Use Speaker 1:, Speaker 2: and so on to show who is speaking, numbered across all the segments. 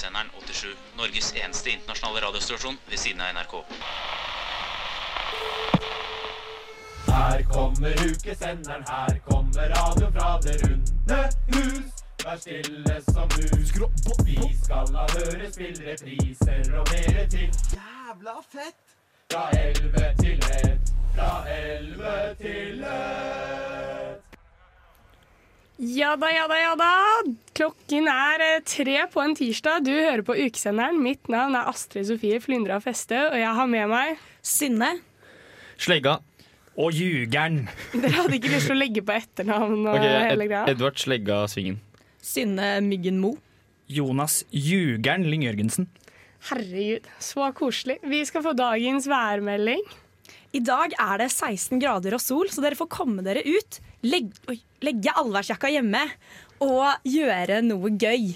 Speaker 1: 24-7. Norges eneste internasjonale radiostasjon ved siden av NRK.
Speaker 2: Her kommer ukesenderen, her kommer radio fra det runde hus. Vær stille som mus. Vi skal ha høre spillrepriser og mere til.
Speaker 3: Jævla fett!
Speaker 2: Fra elleve til ett. Fra elleve til ett.
Speaker 4: Ja da, ja da, ja da. Klokken er eh, tre på en tirsdag. Du hører på Ukesenderen. Mitt navn er Astrid Sofie Flyndra Feste, og jeg har med meg
Speaker 5: Synne.
Speaker 6: Slegga.
Speaker 7: Og ljugeren.
Speaker 4: Dere hadde ikke lyst til å legge på etternavn og
Speaker 6: Ok,
Speaker 4: hele
Speaker 6: Ed
Speaker 4: greia.
Speaker 6: Edvard Slegga Svingen.
Speaker 5: Synne Myggen Mo.
Speaker 7: Jonas Ljugeren Lyng-Jørgensen.
Speaker 4: Herregud, så koselig. Vi skal få dagens værmelding.
Speaker 5: I dag er det 16 grader og sol, så dere får komme dere ut. Legg, oi, legge allværsjakka hjemme og gjøre noe gøy.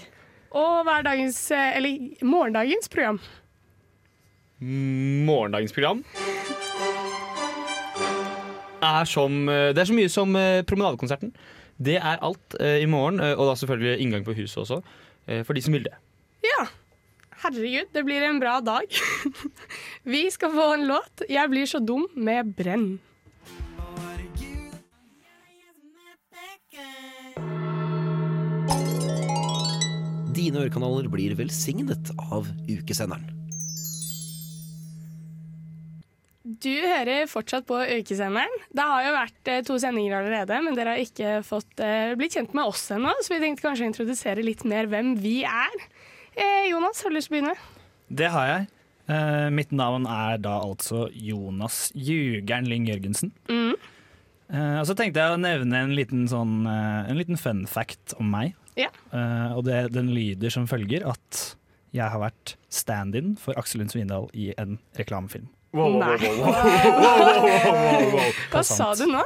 Speaker 4: Og hva er dagens, eh, eller morgendagens program?
Speaker 6: Morgendagens program er som eh, Det er så mye som eh, Promenadekonserten. Det er alt eh, i morgen, eh, og da selvfølgelig inngang på huset også. eh, For de som vil det.
Speaker 4: Ja. Herregud, det blir en bra dag. Vi skal få en låt. 'Jeg blir så dum' med Brenn.
Speaker 8: Dine ørekanaler blir velsignet av ukesenderen.
Speaker 4: Du hører fortsatt på Ukesenderen. Det har jo vært eh, to sendinger allerede, men dere har ikke fått eh, blitt kjent med oss ennå, så vi tenkte kanskje å introdusere litt mer hvem vi er. Eh, Jonas, har du lyst til å begynne?
Speaker 7: Det har jeg. Eh, mitt navn er da altså Jonas Ljugeren Lyng-Jørgensen.
Speaker 4: Mm.
Speaker 7: Eh, og så tenkte jeg å nevne en liten, sånn, eh, en liten fun fact om meg.
Speaker 4: Ja.
Speaker 7: Eh, og det, den lyder som følger at jeg har vært stand-in for Aksel Lund Svindal i en reklamefilm.
Speaker 4: Nei. Hva sa du nå?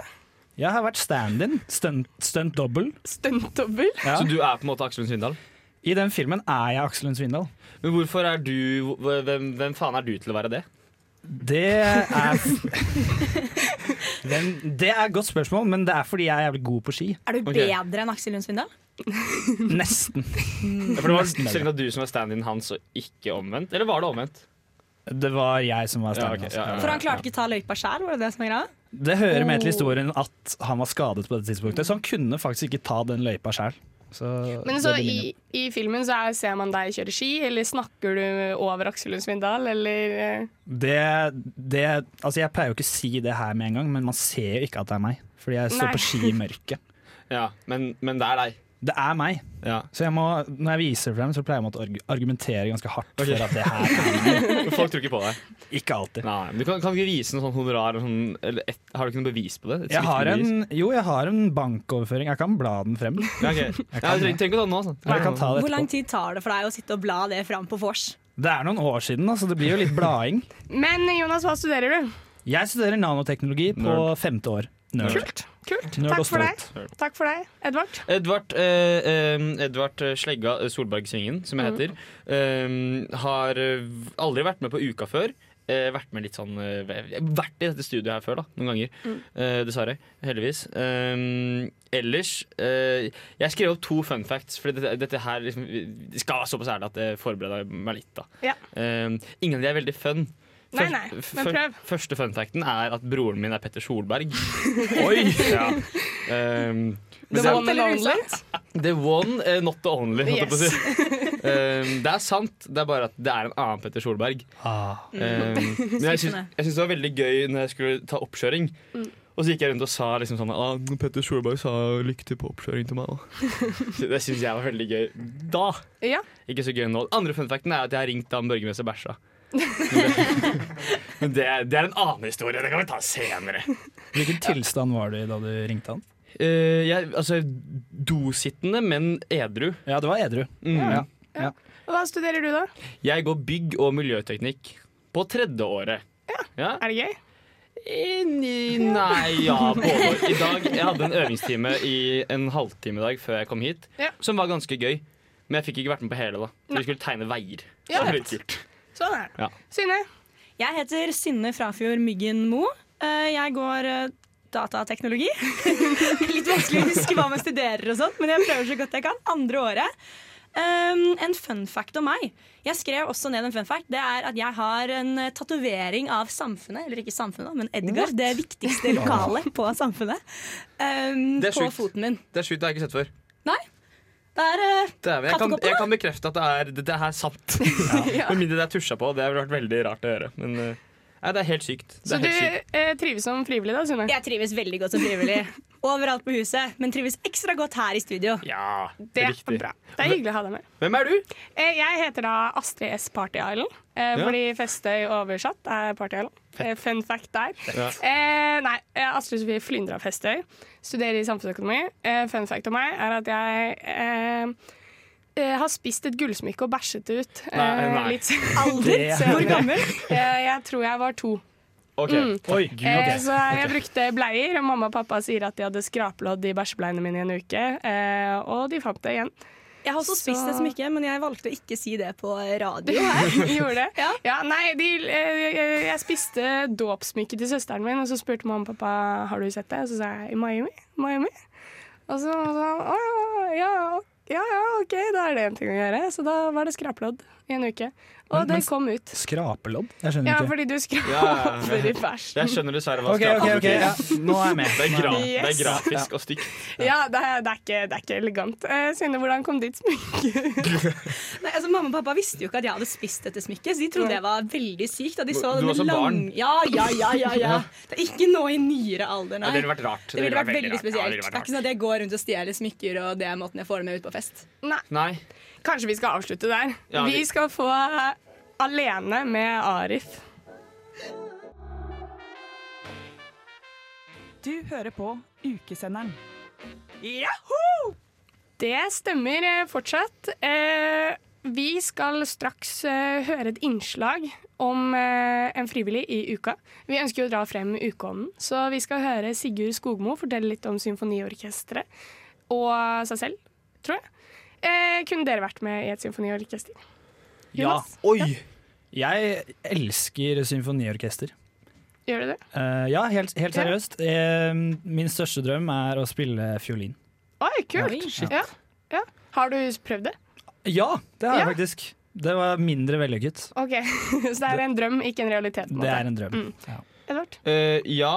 Speaker 7: Jeg har vært stand-in, stunt, stunt double.
Speaker 4: Stuntdobbel?
Speaker 7: Ja.
Speaker 6: Så du er på en måte Aksel Lund Svindal.
Speaker 7: I den filmen er jeg Aksel Lund Svindal.
Speaker 6: Men hvorfor er du hv- hvem, hvem faen er du til å være det?
Speaker 7: Det er Hvem- Det er et godt spørsmål, men det er fordi jeg er jævlig god på ski.
Speaker 5: Er du
Speaker 6: Ok.
Speaker 5: bedre enn Aksel Lund Svindal?
Speaker 7: Nesten.
Speaker 6: Ja, for det var
Speaker 7: Nesten bedre.
Speaker 6: strengt at du som var stand-in hans, og ikke omvendt. Eller var det omvendt?
Speaker 7: Det var jeg som var
Speaker 6: Ja,
Speaker 7: stand
Speaker 6: ok, ja, ja.
Speaker 5: For han klarte ikke ta løypa sjæl, var det det som var greia?
Speaker 7: Det hører med til historien at han var skadet på dette tidspunktet, så han kunne faktisk ikke ta den løypa sjæl.
Speaker 4: Men så i, i filmen så er, ser man deg kjøre ski, eller snakker du over Aksel Lund Svindal, eller eh,
Speaker 7: det, det, altså Jeg pleier jo ikke å si det her med en gang, men man ser jo ikke at det er meg. Fordi jeg står
Speaker 4: Nei.
Speaker 7: på ski i mørket.
Speaker 6: Ja, men, men det er deg.
Speaker 7: Det er meg.
Speaker 6: Ja.
Speaker 7: Så jeg må, når jeg viser frem, så pleier jeg å måtte argu- argumentere ganske hardt
Speaker 6: Ok.
Speaker 7: for at det her er meg.
Speaker 6: Folk tror ikke på deg.
Speaker 7: Ikke alltid.
Speaker 6: Nei, men du kan, kan du ikke vise noe sånn honorar? Sånn, eller et, har du ikke noe bevis på det? Et
Speaker 7: Jeg har
Speaker 6: skriftlig bevis?
Speaker 7: en, jo, jeg har en bankoverføring. Jeg kan bla den frem.
Speaker 6: Ja, ok.
Speaker 7: Jeg
Speaker 6: Ja,
Speaker 7: kan
Speaker 6: du trenger trenger ikke å ta den nå. Sånn.
Speaker 7: Jeg kan ta det
Speaker 5: Hvor lang
Speaker 7: etterpå.
Speaker 5: tid tar det for deg å sitte og bla det fram på vors?
Speaker 7: Det er noen år siden, da, så det blir jo litt blading.
Speaker 4: Men Jonas, hva studerer du?
Speaker 7: Jeg studerer nanoteknologi på
Speaker 6: Nerd.
Speaker 7: femte år. Nerd.
Speaker 4: Kult. Kult.
Speaker 7: Nerd
Speaker 4: Takk
Speaker 7: og
Speaker 4: for deg.
Speaker 7: stolt.
Speaker 4: Takk for deg, Edvard.
Speaker 6: Edvard, eh, eh, Edvard eh, Slegga eh, Solberg Svingen, som jeg heter, eh, har eh, aldri vært med på Uka før. Eh, vært med litt sånn eh, Vært i dette studioet her før, da, noen ganger. Eh, dessverre. Heldigvis. Eh, ellers eh, Jeg skrev opp to fun facts, for dette, dette her liksom, det skal være såpass ærlig at jeg forbereder meg litt. da
Speaker 4: Ja.
Speaker 6: Eh, Ingen av de er veldig fun.
Speaker 4: Nei,
Speaker 6: Først-
Speaker 4: nei, men
Speaker 6: før-
Speaker 4: prøv.
Speaker 6: Første fun facten er at broren min er Petter Solberg. Oi! Ja. Eh,
Speaker 4: The
Speaker 5: sant
Speaker 4: one and
Speaker 5: eller
Speaker 4: only.
Speaker 6: The one, eh, not the only. holdt jeg på å
Speaker 4: Yes.
Speaker 6: si. Um, det er sant, det er bare at det er en annen Petter Solberg.
Speaker 7: Ah.
Speaker 4: Mm.
Speaker 6: Um, men jeg syns
Speaker 5: Skuffende.
Speaker 6: jeg syns det var veldig gøy når jeg skulle ta oppkjøring. Og så gikk jeg rundt og sa liksom sånn ah, Petter Solberg sa lykke til på oppkjøring til meg. da." Så det syns jeg var veldig gøy da.
Speaker 4: Ja.
Speaker 6: Ikke så gøy nå. Andre fun facten er at jeg har ringt han børgermester Bæsja. Men det, men det, det er en annen historie. Det kan vi ta senere.
Speaker 7: Hvilken tilstand var du i da du ringte han?
Speaker 6: Eh, jeg, altså, dosittende, men edru.
Speaker 7: Ja, det var edru.
Speaker 6: Mm.
Speaker 7: Ja.
Speaker 4: Hva studerer du, da?
Speaker 6: Jeg går bygg- og miljøteknikk på tredje året. Ja.
Speaker 4: Er det gøy?
Speaker 6: Eh, Nei, ja, både. I dag, jeg hadde en øvingstime i en halvtime i dag før jeg kom hit,
Speaker 4: Ja.
Speaker 6: som var ganske gøy. Men jeg fikk ikke vært med på hele, da. For
Speaker 4: Nei.
Speaker 6: vi skulle tegne veier. Så
Speaker 4: Ja,
Speaker 6: det var
Speaker 4: vet.
Speaker 6: litt kult.
Speaker 4: Sånn er det.
Speaker 6: Ja.
Speaker 4: Synne?
Speaker 5: Jeg heter Synne Frafjord Myggen Mo. Eh, Jeg går eh, datateknologi. Litt vanskelig å huske hva man studerer og sånt, men jeg prøver så godt jeg kan. Andre året. Um, en fun fact om meg. Jeg skrev også ned en fun fact. Det er at jeg har en eh, tatovering av Samfunnet. Eller ikke Samfunnet, men Edgar. Det viktigste lokalet på Samfunnet. Um,
Speaker 6: Det er
Speaker 5: på
Speaker 6: sjukt.
Speaker 5: foten min.
Speaker 6: Det er sjukt, det har jeg ikke sett før.
Speaker 5: Nei. Det er eh,
Speaker 6: Dæven, jeg, kan,
Speaker 5: Kaffekoppen,
Speaker 6: jeg
Speaker 5: da?
Speaker 6: kan bekrefte at det er, det, det er sant. Med mindre det er tusja på. Det ville vært veldig rart å gjøre. Men eh, nei, det er helt sykt. Det
Speaker 4: Så
Speaker 6: er
Speaker 4: du
Speaker 6: helt sykt.
Speaker 4: eh, trives som frivillig, da, Sunne?
Speaker 5: Jeg trives veldig godt som frivillig. Overalt på huset, men trives ekstra godt her i studio.
Speaker 6: Ja,
Speaker 4: Det er
Speaker 6: riktig.
Speaker 4: bra. Det er hyggelig å ha deg med.
Speaker 6: Hvem er du?
Speaker 4: Eh, Jeg heter da Astrid S. Party Island, eh,
Speaker 6: Ja.
Speaker 4: fordi Festøy oversatt er Party Island. Eh, Fun fact der.
Speaker 6: Ja.
Speaker 4: Eh, nei, eh, Astrid Sofie Flyndra Festøy studerer i samfunnsøkonomi. Eh, fun fact om meg er at jeg eh, eh, har spist et gullsmykke og bæsjet det ut. Eh,
Speaker 6: Nei, nei.
Speaker 4: Litt aldri.
Speaker 7: Det-
Speaker 4: Hvor gammel? Eh, jeg tror jeg var to.
Speaker 6: Ok,
Speaker 7: Oi, gud,
Speaker 4: Eh,
Speaker 7: ok.
Speaker 4: så jeg brukte bleier, og mamma og pappa sier at de hadde skraplodd i bæsjebleiene mine i en uke. Eh, og de fant det igjen.
Speaker 5: Jeg har også
Speaker 4: Så-
Speaker 5: spist et smykke, men jeg valgte å ikke si det på radio.
Speaker 4: Gjorde det?
Speaker 5: Ja.
Speaker 4: nei, de, eh, jeg spiste dåpssmykket til søsteren min, og så spurte mamma og pappa har du sett det. Og så sa jeg i Miami. Miami. Og så sa han å ja, ja, ja, OK, da er det en ting å gjøre. Så da var det skraplodd i en uke. Og
Speaker 7: Men- men-
Speaker 4: det kom ut.
Speaker 7: Skrapelodd? Jeg skjønner
Speaker 4: Ja,
Speaker 7: ikke.
Speaker 4: fordi du skraper
Speaker 6: Ja, ja, ja.
Speaker 4: i bæsjen.
Speaker 6: Jeg skjønner dessverre hva
Speaker 7: Ok, ok,
Speaker 6: skrapelodd
Speaker 7: ok, ja. Nå er jeg med.
Speaker 6: Det er, gra det er
Speaker 4: Yes.
Speaker 6: grafisk og stygt.
Speaker 4: Ja, det er, det er, ikke, det er ikke elegant. Eh, Synne, hvordan kom ditt smykke ut?
Speaker 5: Nei, altså, mamma og pappa visste jo ikke at jeg hadde spist dette smykket, så de trodde jeg var veldig syk. Da de så
Speaker 6: Du var
Speaker 5: denne
Speaker 6: som barn.
Speaker 5: Ja, ja, ja, ja, ja. Det er ikke nå i nyere
Speaker 6: Ja,
Speaker 5: alder, nei.
Speaker 6: det ville vært rart.
Speaker 5: Det ville vært veldig
Speaker 6: rart. Ja, det
Speaker 5: spesielt.
Speaker 6: ville
Speaker 5: Det
Speaker 6: vært
Speaker 5: er ikke sånn at jeg går rundt og stjeler smykker, og det er måten jeg får det med ut på fest.
Speaker 4: Nei,
Speaker 6: rart. Nei.
Speaker 4: kanskje vi skal avslutte der.
Speaker 6: Ja, vi-
Speaker 4: vi skal få eh, Alene med Arif.
Speaker 3: Du hører på Ukesenderen.
Speaker 4: Det stemmer eh, fortsatt. Eh, vi skal straks eh, høre et innslag om eh, en frivillig i uka. Vi ønsker jo å dra frem ukeånden, så vi skal høre Sigurd Skogmo fortelle litt om symfoniorkesteret og seg selv, tror jeg. Eh, kunne dere vært med i et symfoniorkester?
Speaker 7: Ja.
Speaker 4: Jonas?
Speaker 7: Oi! Jeg elsker symfoniorkester.
Speaker 4: Gjør du det?
Speaker 7: Eh, ja, helt, helt
Speaker 4: Ja.
Speaker 7: seriøst. Eh, min største drøm er å spille fiolin.
Speaker 4: Oi, kult!
Speaker 5: Oi,
Speaker 4: ja. Ja. Har du prøvd det?
Speaker 7: Ja, det har jeg
Speaker 4: Ja.
Speaker 7: faktisk. Det var mindre vellykket.
Speaker 4: Ok, Så det er en drøm, ikke en realitet?
Speaker 7: Det
Speaker 4: på en måte. Mm.
Speaker 7: er en drøm. Ja.
Speaker 4: Edvard? Mm.
Speaker 6: Eh, ja.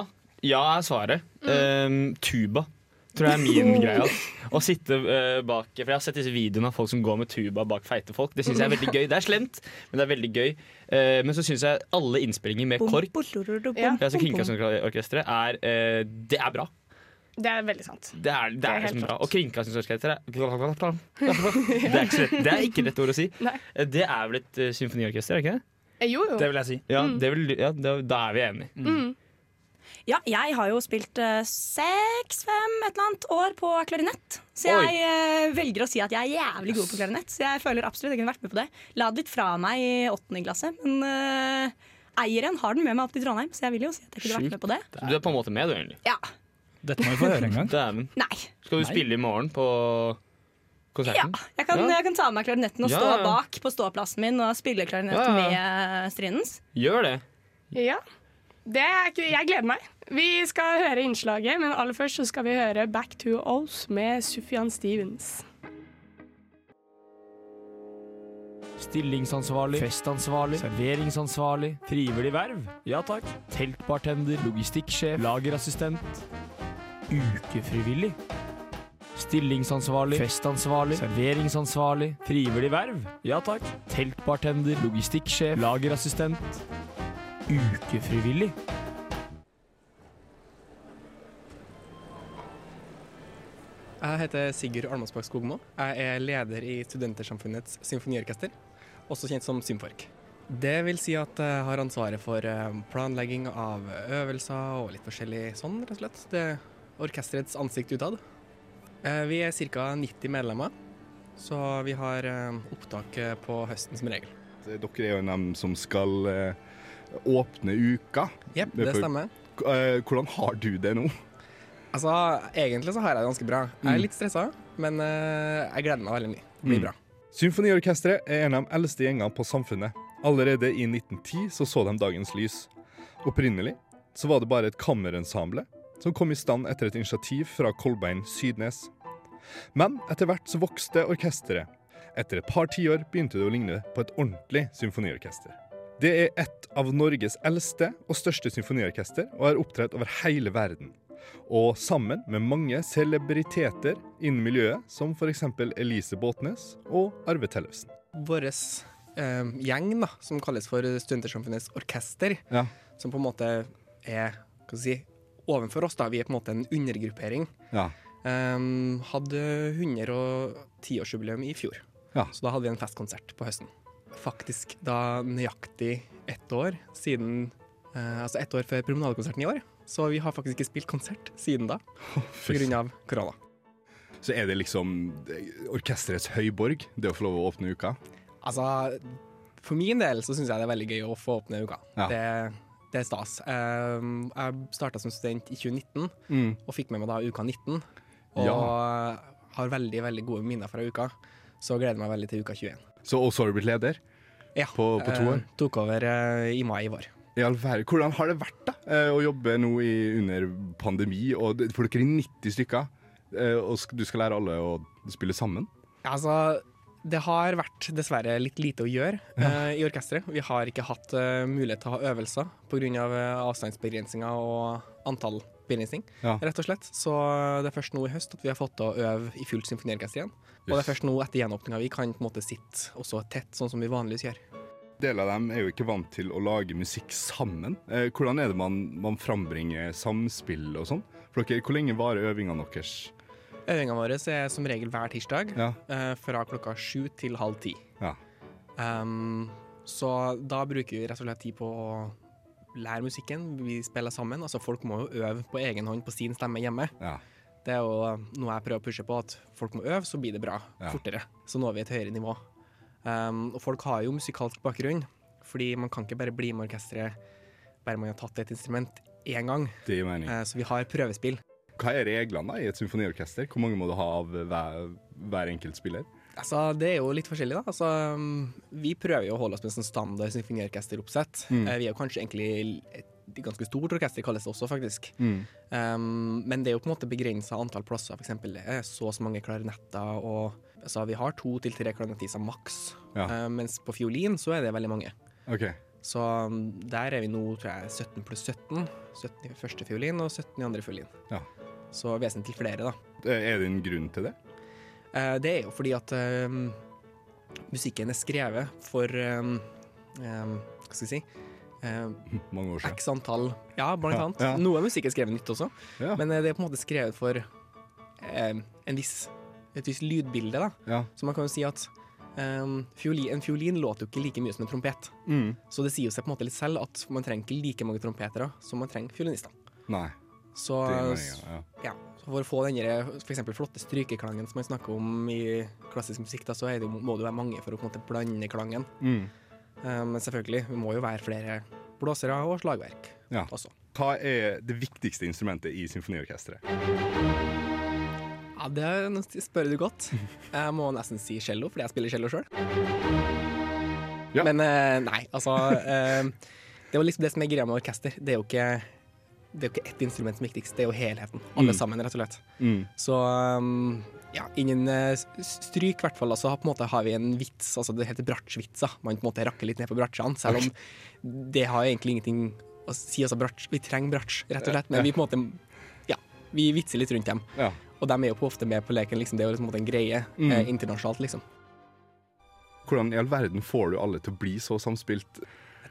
Speaker 6: Ja er svaret. Eh, tuba tror jeg er min greie. ass. Å sitte eh, bak For jeg har sett disse videoene av folk som går med tuba bak feite folk. Det syns jeg er veldig gøy. Det er slemt, men det er veldig gøy. Eh, men så syns jeg alle innspillinger med
Speaker 5: Bom,
Speaker 6: KORK,
Speaker 5: borororo,
Speaker 4: Ja.
Speaker 6: altså
Speaker 5: bom, bom, bom.
Speaker 6: Kringkastingsorkesteret, er eh, Det er bra.
Speaker 4: Det er veldig sant.
Speaker 6: Det er, det
Speaker 4: er
Speaker 6: er
Speaker 4: helt
Speaker 6: liksom bra.
Speaker 4: sant.
Speaker 6: Og kringkastingsorkesteret er Det er ikke, så rett- det er ikke rett ord å si.
Speaker 4: Nei.
Speaker 6: Eh, Det er vel et eh, symfoniorkester, er det ikke det?
Speaker 4: Eh, Jo, jo. Mm.
Speaker 7: Det vil jeg si. Mm.
Speaker 6: Ja, det er vel, ja da, da er vi enige.
Speaker 5: Mm. Ja, jeg har jo spilt eh, seks, fem, et eller annet år på klarinett. Så
Speaker 6: Oi.
Speaker 5: jeg eh, velger å si at jeg er jævlig god på klarinett. Så jeg føler absolutt jeg kunne vært med på det. La det litt fra meg i åttende klasse, men eh, eieren har den med meg opp til Trondheim, så jeg vil jo si at jeg kunne vært med på det.
Speaker 6: Så du er på en måte med, du, egentlig.
Speaker 5: Ja.
Speaker 7: Dette må vi få høre en gang.
Speaker 6: Dæven.
Speaker 5: Nei.
Speaker 6: Skal du
Speaker 7: Nei.
Speaker 6: spille i morgen på
Speaker 5: Ja.
Speaker 6: konserten?
Speaker 5: Jeg, kan,
Speaker 6: Ja.
Speaker 5: jeg kan ta med meg klarinetten og
Speaker 6: Ja,
Speaker 5: stå
Speaker 6: ja.
Speaker 5: bak på ståplassen min og spille klarinett
Speaker 6: Ja, ja.
Speaker 5: med eh, Strindens.
Speaker 6: Gjør det.
Speaker 4: Ja. Det er ikke, jeg gleder meg. Vi skal høre innslaget, men aller først så skal vi høre Back to Ols med Sufjan Stevens.
Speaker 9: Stillingsansvarlig. Festansvarlig. Serveringsansvarlig. Frivillig verv. Ja takk. Teltbartender. Logistikksjef. Lagerassistent. Ukefrivillig. Stillingsansvarlig. Festansvarlig. Serveringsansvarlig. Frivillig verv. Ja takk. Teltbartender. Logistikksjef. Lagerassistent. Ukefrivillig.
Speaker 10: Jeg heter Sigurd Almåsbakk Skogmo. Jeg er leder i Studentersamfunnets symfoniorkester, også kjent som Symfork. Det vil si at jeg har ansvaret for eh, planlegging av øvelser og litt forskjellig sånn, rett og slett. Det er orkesterets ansikt utad. Eh, Vi er ca. 90 medlemmer, så vi har eh, opptak eh, på høsten som regel.
Speaker 11: eh, Dere er jo dem som skal eh, åpne uka.
Speaker 10: Jepp,
Speaker 11: Det er
Speaker 10: det
Speaker 11: for-
Speaker 10: stemmer.
Speaker 11: K- eh, hvordan har du det nå?
Speaker 10: Altså, egentlig så har jeg det ganske bra. Jeg er litt stressa, men eh, jeg gleder meg veldig mye. Det blir bra.
Speaker 11: Mm. Symfoniorkesteret er en av de eldste gjengene på samfunnet. Allerede i 1910 så, så de dagens lys. Opprinnelig så var det bare et kammerensemble som kom i stand etter et initiativ fra Kolbein Sydnes. Men etter hvert så vokste orkesteret. Etter et par tiår begynte det å ligne på et ordentlig symfoniorkester. Det er et av Norges eldste og største symfoniorkester, og har opptredd over hele verden. Og sammen med mange celebriteter innen miljøet, som f.eks. Elise Båtnes og Arve Tellefsen.
Speaker 10: Vår eh, gjeng, da, som kalles for Studentersamfunnets orkester,
Speaker 11: Ja.
Speaker 10: som på en måte er hva skal jeg si, ovenfor oss, da. vi er på en måte en undergruppering,
Speaker 11: Ja.
Speaker 10: ehm, hadde 110-årsjubileum i fjor. Så da hadde vi en festkonsert på høsten. Faktisk da nøyaktig ett år siden eh, Altså ett år før promenadekonserten i år. Så vi har faktisk ikke spilt konsert siden da,
Speaker 11: fy
Speaker 10: pga. korona.
Speaker 11: Så er det liksom orkesterets høyborg, det å få lov å åpne uka.
Speaker 10: Altså, for min del så syns jeg det er veldig gøy å få åpne uka.
Speaker 11: Ja.
Speaker 10: Det, det er stas. Ehm, jeg starta som student i 2019,
Speaker 11: Mm.
Speaker 10: og fikk med meg da uka 19. Og har veldig, veldig gode minner fra uka. Så gleder jeg meg veldig til uka 21.
Speaker 11: Så også har du blitt leder?
Speaker 10: Ja.
Speaker 11: På, på to
Speaker 10: Eh,
Speaker 11: år?
Speaker 10: tok over eh, i mai i vår.
Speaker 11: I all verden. Hvordan har det vært da, eh, å jobbe nå i, under pandemi, og det- for dere er 90 stykker, eh, og sk- du skal lære alle å spille sammen?
Speaker 10: Altså, det har vært dessverre litt lite å gjøre eh, i orkesteret. Vi har ikke hatt eh, mulighet til å ha øvelser pga. Av eh, avstandsbegrensninger og antallbegrensning,
Speaker 11: Ja.
Speaker 10: rett og slett. Så det er først nå i høst at vi har fått til å øve i fullt symfoniorkester igjen. Og det er
Speaker 11: Yes.
Speaker 10: først nå etter gjenåpninga vi kan på en måte sitte også tett, sånn som vi vanligvis gjør.
Speaker 11: Deler av dem er jo ikke vant til å lage musikk sammen. Eh, hvordan er det man, man frambringer samspill og sånn? For dere, Hvor lenge varer øvingene deres?
Speaker 10: Øvingene våre er som regel hver tirsdag
Speaker 11: Ja.
Speaker 10: eh, fra klokka sju til halv ti.
Speaker 11: Ja.
Speaker 10: Um, så da bruker vi rett og slett tid på å lære musikken. Vi spiller sammen. Altså, folk må jo øve på egen hånd på sin stemme hjemme.
Speaker 11: Ja.
Speaker 10: Det er jo noe jeg prøver å pushe på, at folk må øve, så blir det bra
Speaker 11: Ja.
Speaker 10: fortere. Så når vi et høyere nivå. Um, og folk har jo musikalsk bakgrunn, fordi man kan ikke bare bli med orkesteret bare man har tatt et instrument én gang.
Speaker 11: Det gir mening.
Speaker 10: Eh, så vi har prøvespill.
Speaker 11: Hva er reglene da i et symfoniorkester? Hvor mange må du ha av hver, hver enkelt spiller?
Speaker 10: Altså, det er jo litt forskjellig, da. Altså, um, vi prøver jo å holde oss med en sånn standard symfoniorkesteroppsett.
Speaker 11: Mm.
Speaker 10: Eh, Vi er jo kanskje egentlig et ganske stort orkester, kalles det også, faktisk.
Speaker 11: Mm.
Speaker 10: Um, men det er jo på en måte begrensa antall plasser, f.eks. Det er så og så mange klarinetter, og altså, vi har to til tre klarinettister maks.
Speaker 11: Ja.
Speaker 10: Eh, mens på fiolin så er det veldig mange.
Speaker 11: Ok.
Speaker 10: Så um, der er vi nå, tror jeg, 17 pluss 17. 17 i første fiolin og 17 i andre fiolin.
Speaker 11: Ja.
Speaker 10: Så vesentlig flere, da.
Speaker 11: Eh, Er det en grunn til det?
Speaker 10: Eh, Det er jo fordi at ehm, musikken er skrevet for ehm, ehm, Hva skal jeg si? ehm,
Speaker 11: Mange år siden.
Speaker 10: X antall Ja, blant
Speaker 11: Ja,
Speaker 10: annet.
Speaker 11: ja.
Speaker 10: Noe av musikken er skrevet nytt også,
Speaker 11: Ja.
Speaker 10: men eh, det er på en måte skrevet for ehm, en viss, et visst lydbilde. da
Speaker 11: Ja.
Speaker 10: Så man kan jo si at ehm, fioli- en fiolin låter jo ikke like mye som en trompet.
Speaker 11: Mm.
Speaker 10: Så det sier jo seg på en måte litt selv at man trenger ikke like mange trompetere som man trenger fiolinister.
Speaker 11: Nei.
Speaker 10: Så,
Speaker 11: Det gir mening, ja.
Speaker 10: ja, så for å få den der, for eksempel flotte strykeklangen som man snakker om i klassisk musikk, da, så er det, jo- må det jo være mange for å på en måte blande klangen.
Speaker 11: Mm.
Speaker 10: Eh, Men selvfølgelig, det må jo være flere blåsere og slagverk.
Speaker 11: Ja. Hva er det viktigste instrumentet i symfoniorkesteret?
Speaker 10: Ja, det nå spør du godt. Jeg må nesten si cello, fordi jeg spiller cello sjøl. Men eh, nei, altså eh, Det var liksom det som er greia med orkester. Det er jo ikke det er jo ikke ett instrument som er viktigst, det er jo helheten. Alle
Speaker 11: Mm.
Speaker 10: sammen, rett og slett.
Speaker 11: Mm.
Speaker 10: Så um, ja, innen eh, s- stryk i hvert fall, altså, på en måte har vi en vits, altså det heter bratsjvitser. Man på en måte rakker litt ned på bratsjene, selv om det har egentlig ingenting å si. Altså, bratsj, vi trenger bratsj, rett og slett, men vi på en måte, ja, vi vitser litt rundt dem.
Speaker 11: Ja.
Speaker 10: Og de er jo på ofte med på leken, liksom. det er jo liksom på en måte en greie
Speaker 11: Mm.
Speaker 10: eh, internasjonalt, liksom.
Speaker 11: Hvordan i all verden får du alle til å bli så samspilt?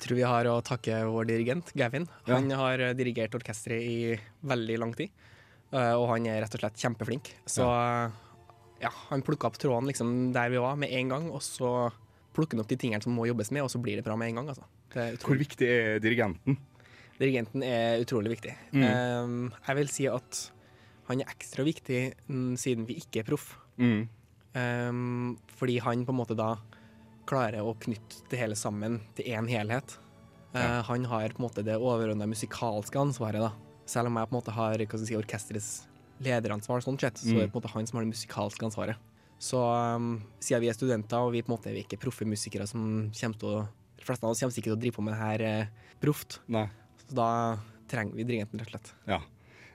Speaker 10: Jeg tror vi har å takke vår dirigent, Gavin. Han har eh, dirigert orkesteret i veldig lang tid, eh, og han er rett og slett kjempeflink. Så ja, han plukka opp tråden liksom der vi var, med en gang, og så plukker han opp de tingene som må jobbes med, og så blir det bra med en gang. Altså. Det er
Speaker 11: Hvor viktig er dirigenten?
Speaker 10: Dirigenten er utrolig viktig.
Speaker 11: Mm.
Speaker 10: Eh, jeg vil si at han er ekstra viktig mm, siden vi ikke er proff.
Speaker 11: Mm.
Speaker 10: Ehm, fordi han på en måte da klarer å knytte det hele sammen til én helhet. Eh, han har på en måte det overordna musikalske ansvaret, da. Selv om jeg på en måte har hva skal jeg si, orkesterets lederansvar, sånn sett, så
Speaker 12: Mm.
Speaker 10: er det på en måte han som har det musikalske ansvaret. Så ehm, siden vi er studenter, og vi på en måte er vi ikke proffe musikere som kommer til å De fleste av oss kommer sikkert til å drive på med det her eh, proft,
Speaker 11: Nei.
Speaker 10: så da trenger vi dirigenten, rett og slett.
Speaker 11: Ja.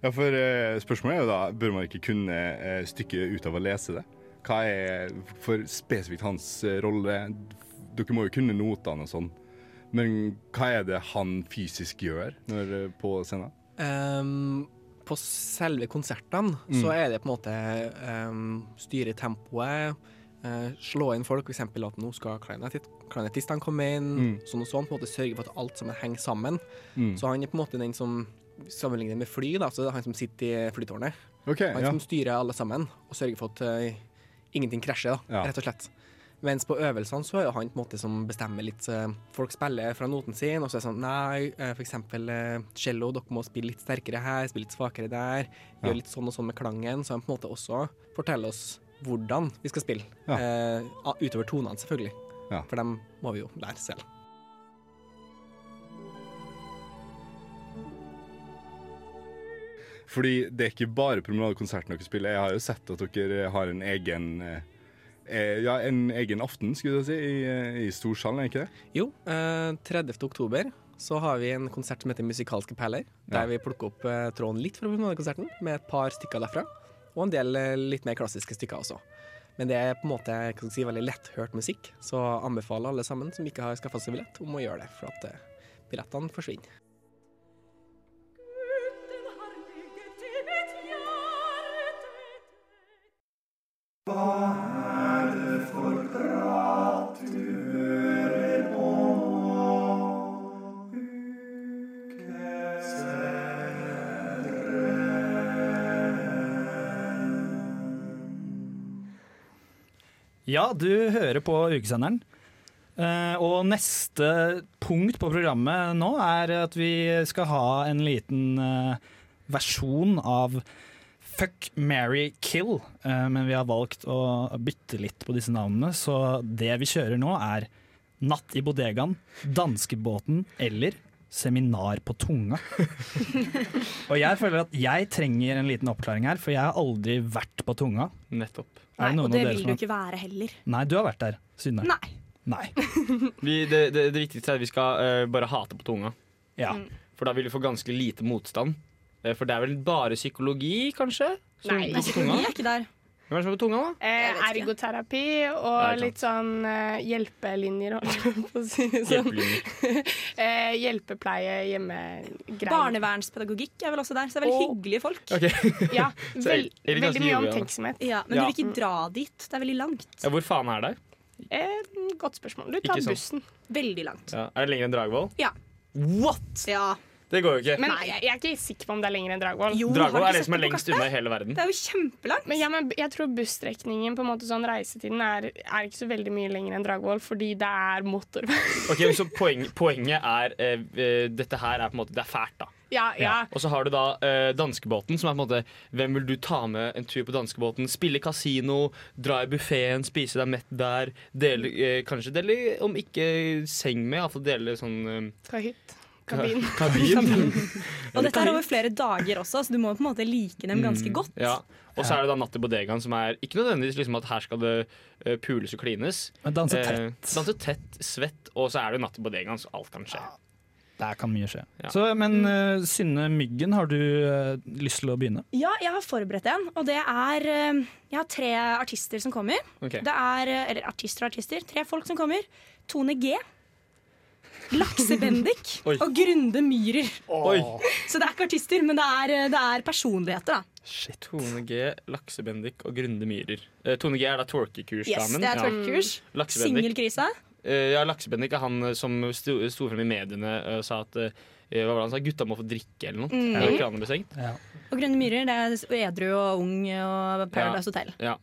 Speaker 11: ja, for eh, spørsmålet er jo da, bør man ikke kunne eh, stykket ut av å lese det? Hva er for spesifikt hans eh, rolle? Dere må jo kunne notene og sånn. Men hva er det han fysisk gjør når, eh, på scenen?
Speaker 10: Ehm, på selve konsertene
Speaker 11: Mm.
Speaker 10: så er det på en måte ehm, styre tempoet, eh, slå inn folk, f.eks. at nå skal klarinettist- klarinettistene komme inn, sånn og sånn. På en måte sørge for at alt sammen henger sammen.
Speaker 11: Mm.
Speaker 10: Så han er på en måte den som sammenligner med fly, da, så det er han som sitter i flytårnet.
Speaker 11: Ok,
Speaker 10: han
Speaker 11: ja.
Speaker 10: som styrer alle sammen og sørger for at eh, ingenting krasjer, da,
Speaker 11: Ja.
Speaker 10: rett og slett. Mens på øvelsene så er jo han på en måte som bestemmer litt eh, Folk spiller fra noten sin, og så er det sånn Nei, eh, for eksempel eh, cello, dere må spille litt sterkere her, spille litt svakere der.
Speaker 11: Ja.
Speaker 10: Gjør litt sånn og sånn med klangen. Så han på en måte også forteller oss hvordan vi skal spille. Eh, a- utover tonene, selvfølgelig.
Speaker 11: Ja.
Speaker 10: For dem må vi jo lære selv.
Speaker 11: Fordi det er ikke bare promenadekonserten dere spiller. Jeg har jo sett at dere har en egen eh, eh, Ja, en egen aften, skulle jeg si, i, eh, i Storsalen, er ikke det?
Speaker 10: Jo, eh, 30. oktober så har vi en konsert som heter Musikalske perler, der vi plukker opp eh, tråden litt fra Promenadekonserten med et par stykker derfra, og en del eh, litt mer klassiske stykker også. Men det er på en måte hva skal jeg si, veldig letthørt musikk, så anbefaler alle sammen som ikke har skaffa seg billett, om å gjøre det, for at eh, billettene forsvinner.
Speaker 7: Ja, du hører på ukesenderen. Eh, og neste punkt på programmet nå er at vi skal ha en liten eh, versjon av Fuck, marry, kill. Eh, men vi har valgt å bytte litt på disse navnene, så det vi kjører nå er Natt i bodegaen, Danskebåten eller Seminar på tunga. og jeg føler at jeg trenger en liten oppklaring her, for jeg har aldri vært på tunga.
Speaker 6: Nettopp.
Speaker 5: Nei, og det vil
Speaker 7: som
Speaker 5: du
Speaker 7: har-
Speaker 5: ikke være heller.
Speaker 7: Nei, du har vært der, Synne.
Speaker 5: Nei.
Speaker 6: Vi, det, det, det viktigste er at vi skal eh, bare hate på tunga.
Speaker 7: Ja.
Speaker 5: Mm.
Speaker 6: For da vil du få ganske lite motstand. Eh, for det er vel bare psykologi, kanskje? som
Speaker 4: Nei,
Speaker 6: går på tunga?
Speaker 4: psykologi er
Speaker 5: ikke der.
Speaker 6: Hvem er det som er på tunga, da?
Speaker 4: Eh, ergoterapi og
Speaker 6: Ja, ikke sant.
Speaker 4: litt sånn eh, hjelpelinjer, holdt jeg på å si. Sånn.
Speaker 6: Hjelpelinjer.
Speaker 4: eh, hjelpepleie,
Speaker 5: eh,
Speaker 4: hjemmegreier.
Speaker 5: Barnevernspedagogikk er vel også der, så det er vel
Speaker 4: Og-
Speaker 5: hyggelige folk.
Speaker 4: ja,
Speaker 6: Så
Speaker 4: vel,
Speaker 6: er det ganske
Speaker 4: veldig mye
Speaker 6: joviale.
Speaker 4: omtenksomhet.
Speaker 5: Ja, men
Speaker 6: Ja.
Speaker 5: du vil ikke dra dit. Det er veldig langt.
Speaker 6: Ja, hvor faen er det?
Speaker 4: Eh, godt spørsmål. Du tar
Speaker 6: Ikke sånn. sant.
Speaker 4: bussen.
Speaker 5: Veldig langt.
Speaker 6: Ja. Er det lenger enn Dragvoll?
Speaker 5: Ja.
Speaker 6: What?!
Speaker 5: Ja.
Speaker 6: Det går jo ikke.
Speaker 4: Men jeg, jeg er ikke sikker på om det er lenger enn Dragvoll.
Speaker 6: Dragvoll er det som er lengst unna i hele verden.
Speaker 5: Det er jo kjempelangt.
Speaker 4: Men, ja, men jeg tror busstrekningen på en måte sånn reisetiden er, er ikke så veldig mye lenger enn Dragvoll, fordi det er motorvei.
Speaker 6: Ok, så poeng, Poenget er eh, eh, Dette her er på en måte Det er fælt, da.
Speaker 4: Ja,
Speaker 7: Ah,
Speaker 4: ja.
Speaker 6: Og så har du da eh, danskebåten, som er på en måte Hvem vil du ta med en tur på danskebåten? Spille kasino, dra i buffeen, spise deg mett der. Dele, eh, kanskje dele, om ikke seng med, iallfall dele sånn eh,
Speaker 4: Kahytt.
Speaker 6: ka-
Speaker 4: Kabin.
Speaker 6: kabin. Mm.
Speaker 5: Og dette er over flere dager også, så du må på en måte like dem
Speaker 6: Mm.
Speaker 5: ganske godt.
Speaker 6: Ja. Og så er det da Natt i bodegaen, som er ikke nødvendigvis liksom at her skal det eh, pules og klines.
Speaker 7: Men danse tett.
Speaker 6: Eh, danse tett, svett, og så er det jo Natt i bodegaen, så alt kan skje.
Speaker 7: Der kan mye skje.
Speaker 6: Ja.
Speaker 7: Så, men eh, Synne Myggen, har du eh, lyst til å begynne?
Speaker 5: Ja, jeg har forberedt en, og det er eh, Jeg har tre artister som kommer.
Speaker 7: Ok.
Speaker 5: Det er, eh, Eller artister og artister. Tre folk som kommer. Tone G. Lakse Bendik
Speaker 6: Oi.
Speaker 5: og Grunde Myhrer.
Speaker 6: Oi.
Speaker 5: Så det er ikke artister, men det er, eh, det er personligheter, da.
Speaker 6: Shit. Tone G, Laksebendik og Grunde Myhrer. Eh, Tone G er da
Speaker 5: Yes,
Speaker 6: twerkekursdamen.
Speaker 5: det er twerkkurs.
Speaker 6: Ja. Mm. Laksebendik.
Speaker 5: Singelkrisa.
Speaker 6: Eh, ja, Laksebendik er han eh, som sto, sto frem i mediene eh, og sa at eh, hva var det han sa, gutta må få drikke eller noe.
Speaker 5: Mm.
Speaker 6: Eller kranen ble stengt.
Speaker 5: Og Grunde Myhrer, det er edru og ung og Paradise Hotel.
Speaker 6: Ja.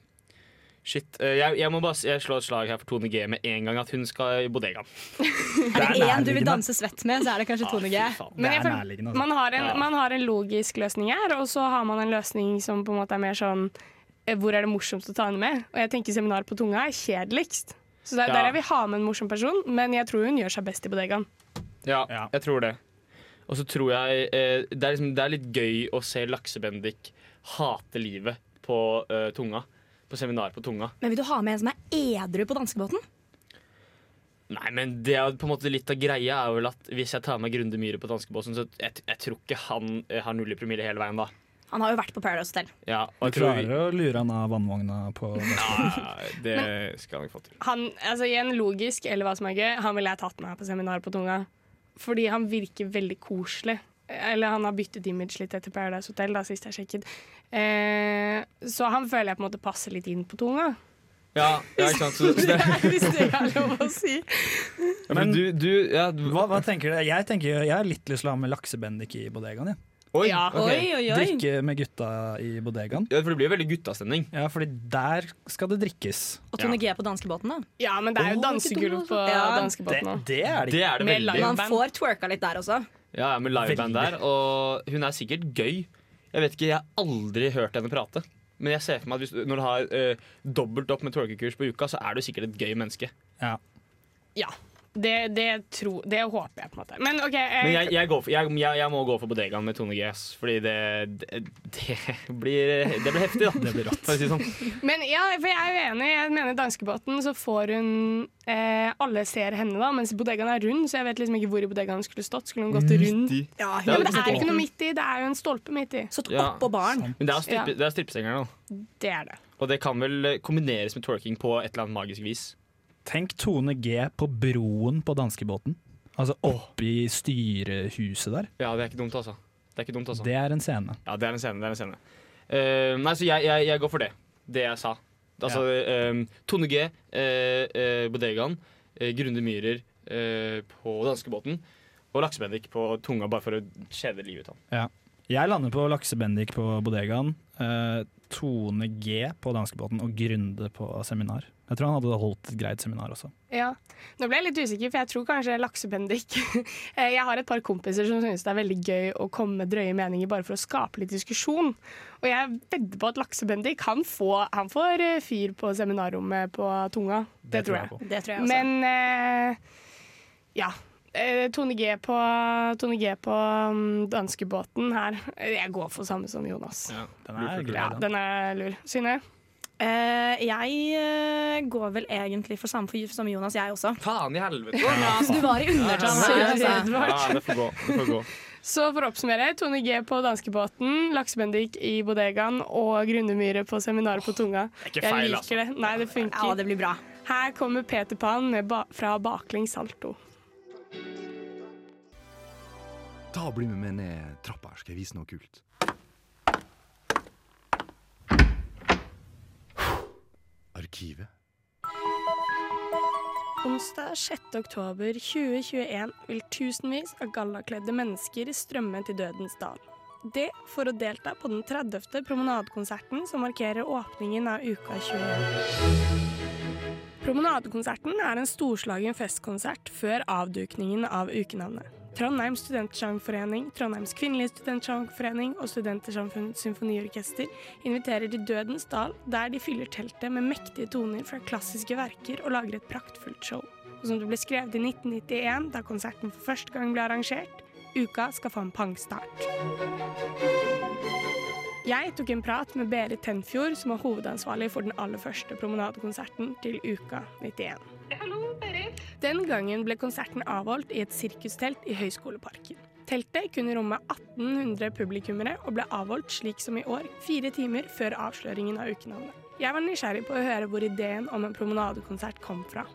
Speaker 6: Shit. eh, jeg, jeg må bare s- jeg slå et slag her for Tone G med en gang, at hun skal i bodegaen.
Speaker 5: Er det én du vil danse svett med, så er det altså. kanskje Tone G.
Speaker 4: Men jeg føler- man, har en,
Speaker 6: Ah, Ja.
Speaker 4: man har en logisk løsning her, og så har man en løsning som på en måte er mer sånn eh, Hvor er det morsomst å ta henne med? Og jeg tenker seminar på tunga er kjedeligst. Så der,
Speaker 6: Ja.
Speaker 4: der jeg vil ha med en morsom person, men jeg tror hun gjør seg best i bodegaen.
Speaker 6: Ja, jeg tror det. Og så tror jeg eh, det, er liksom, det er litt gøy å se Laksebendik hate livet på eh, tunga. På seminar på tunga.
Speaker 5: Men vil du ha med en som er edru på danskebåten?
Speaker 6: Nei, men det er jo på en måte litt av greia er vel at hvis jeg tar med Grunde Myhre på danskebåsen, så jeg, jeg tror ikke han eh, har null i promille hele veien, da.
Speaker 5: Han har jo vært på Paradise Hotel.
Speaker 6: Ja, og jeg
Speaker 7: Du
Speaker 6: tror vi-
Speaker 7: klarer å lure han av vannvogna på
Speaker 6: Nei, det skal han ikke få til.
Speaker 4: Han, altså igjen logisk, eller hva som er gøy, han ville jeg tatt med på seminar på tunga. Fordi han virker veldig koselig. Eller han har byttet image litt etter Paradise Hotel, da, sist jeg sjekket. Eh, så han føler jeg på en måte passer litt inn på tunga.
Speaker 6: Ja, ja ikke sant? Så, så det,
Speaker 4: Hvis det er lov å si.
Speaker 6: ja, men du, du ja, du-
Speaker 7: Hva, hva tenker dere? Jeg tenker jeg har litt lyst til å ha med laksebendik i bodegaen. jeg.
Speaker 6: Oi,
Speaker 4: Ja.
Speaker 6: ok.
Speaker 4: Oi, oi, oi.
Speaker 7: Drikke med gutta i bodegaen.
Speaker 6: Ja, for det blir jo veldig guttastemning.
Speaker 7: Ja, fordi der skal det drikkes.
Speaker 5: Og Tone G på danskebåten, da.
Speaker 4: Ja, men det er
Speaker 5: Å,
Speaker 4: jo dansegulv
Speaker 5: ikke
Speaker 4: på
Speaker 5: dumt, altså. Ja.
Speaker 4: danskebåten òg.
Speaker 7: Det er det
Speaker 6: Det er det
Speaker 4: Med
Speaker 6: veldig.
Speaker 5: Man får twerka litt der også.
Speaker 6: Ja, ja, med liveband
Speaker 7: Veldig.
Speaker 6: der. Og hun er sikkert gøy. Jeg vet ikke, jeg har aldri hørt henne prate. Men jeg ser for meg at hvis, du- når du har eh, dobbelt opp med twerkekurs på uka, så er du sikkert et gøy menneske.
Speaker 7: Ja.
Speaker 4: Ja. Det, det, tror, det håper jeg, på en måte. Men OK. eh,
Speaker 6: Men jeg, jeg, går for, jeg, jeg, jeg må gå for bodegaen med Tone G, ass, fordi det, det, det, blir, eh, det blir heftig, da.
Speaker 7: Det blir rått.
Speaker 6: For å si det sånn.
Speaker 4: Men ja, for jeg er uenig. Jeg mener danskebåten, så får hun eh, Alle ser henne, da, mens bodegaen er rund, så jeg vet liksom ikke hvor i bodegaen hun skulle stått. Skulle hun gått
Speaker 6: Mm.
Speaker 4: rundt?
Speaker 6: i.
Speaker 5: Ja,
Speaker 4: Ja, men
Speaker 6: Ja,
Speaker 4: det er ikke noe midt i, det er jo en stolpe midt i.
Speaker 5: Satt
Speaker 6: sånn Ja.
Speaker 5: oppå baren.
Speaker 6: Men det er, jo strippe,
Speaker 4: Ja.
Speaker 6: det er strippestengerne, da.
Speaker 4: Det er det.
Speaker 6: Og det kan vel eh, kombineres med twerking på et eller annet magisk vis.
Speaker 7: Tenk Tone G på broen på danskebåten. Altså oppi styrehuset der.
Speaker 6: Ja, det er ikke dumt, altså. Det er ikke dumt, altså.
Speaker 7: Det er en scene.
Speaker 6: Ja, det er en scene. Det er en scene. Eh, nei, så jeg, jeg, jeg går for det. Det jeg sa. Altså eh, Tone G, eh, eh, Bodegaen, eh, Grunde Myhrer eh, på danskebåten og Laksebendik på tunga, bare for å kjede livet ut av ham.
Speaker 7: Ja. Jeg lander på laksebendik på bodegaen. eh, Tone G på danskebåten og Grunde på seminar. Jeg tror han hadde holdt et greit seminar også.
Speaker 4: Ja. Nå ble jeg litt usikker, for jeg tror kanskje laksebendik Eh, Jeg har et par kompiser som synes det er veldig gøy å komme med drøye meninger bare for å skape litt diskusjon. Og jeg vedder på at laksebendik han får, han får eh, fyr på seminarrommet på tunga. Det, tror jeg.
Speaker 7: på.
Speaker 5: Det tror jeg også.
Speaker 4: Men eh, ja. Eh, Tone G på, Tone G på mm, danskebåten her. Jeg går for samme som Jonas. Ja,
Speaker 7: Den er grei,
Speaker 4: ja
Speaker 7: den.
Speaker 4: Den er lur. Synne?
Speaker 5: Eh, jeg eh, går vel egentlig for samme, for, som Jonas, jeg også.
Speaker 6: Faen i helvete! Ja,
Speaker 5: Altså, du var i undertall her, altså.
Speaker 6: det får gå. Det får gå.
Speaker 4: Så for å oppsummere, Tone G på danskebåten, Laksebendik i bodegaen og Grundemyre på seminaret på Tunga.
Speaker 6: ikke feil, altså.
Speaker 4: jeg liker det. Nei, det funker.
Speaker 5: Ja, det blir bra.
Speaker 4: Her kommer Peter Pan med ba fra baklengs salto.
Speaker 12: Ta og Bli med meg ned trappa her, skal jeg vise noe kult. Arkivet.
Speaker 4: Onsdag 6. oktober 2021 vil tusenvis av gallakledde mennesker strømme til Dødens dal. Det for å delta på den 30. promenadekonserten som markerer åpningen av Uka 21. Promenadekonserten er en storslagen festkonsert før avdukningen av ukenavnet. Trondheim Studentsangforening, Trondheims Kvinnelige Studentsangforening og Studentersamfunnets symfoniorkester inviterer til Dødens dal, der de fyller teltet med mektige toner fra klassiske verker og lager et praktfullt show. Og som det ble skrevet i 1991, da konserten for første gang ble arrangert, uka skal få en pangstart. Jeg tok en prat med Berit Tenfjord, som var hovedansvarlig for den aller første promenadekonserten til Uka 91. Hallo, Berit. Den gangen ble konserten avholdt i et sirkustelt i Høyskoleparken. Teltet kunne romme 1800 publikummere og ble avholdt slik som i år, fire timer før avsløringen av ukenavnet. Jeg var nysgjerrig på å høre hvor ideen om en promenadekonsert kom fra.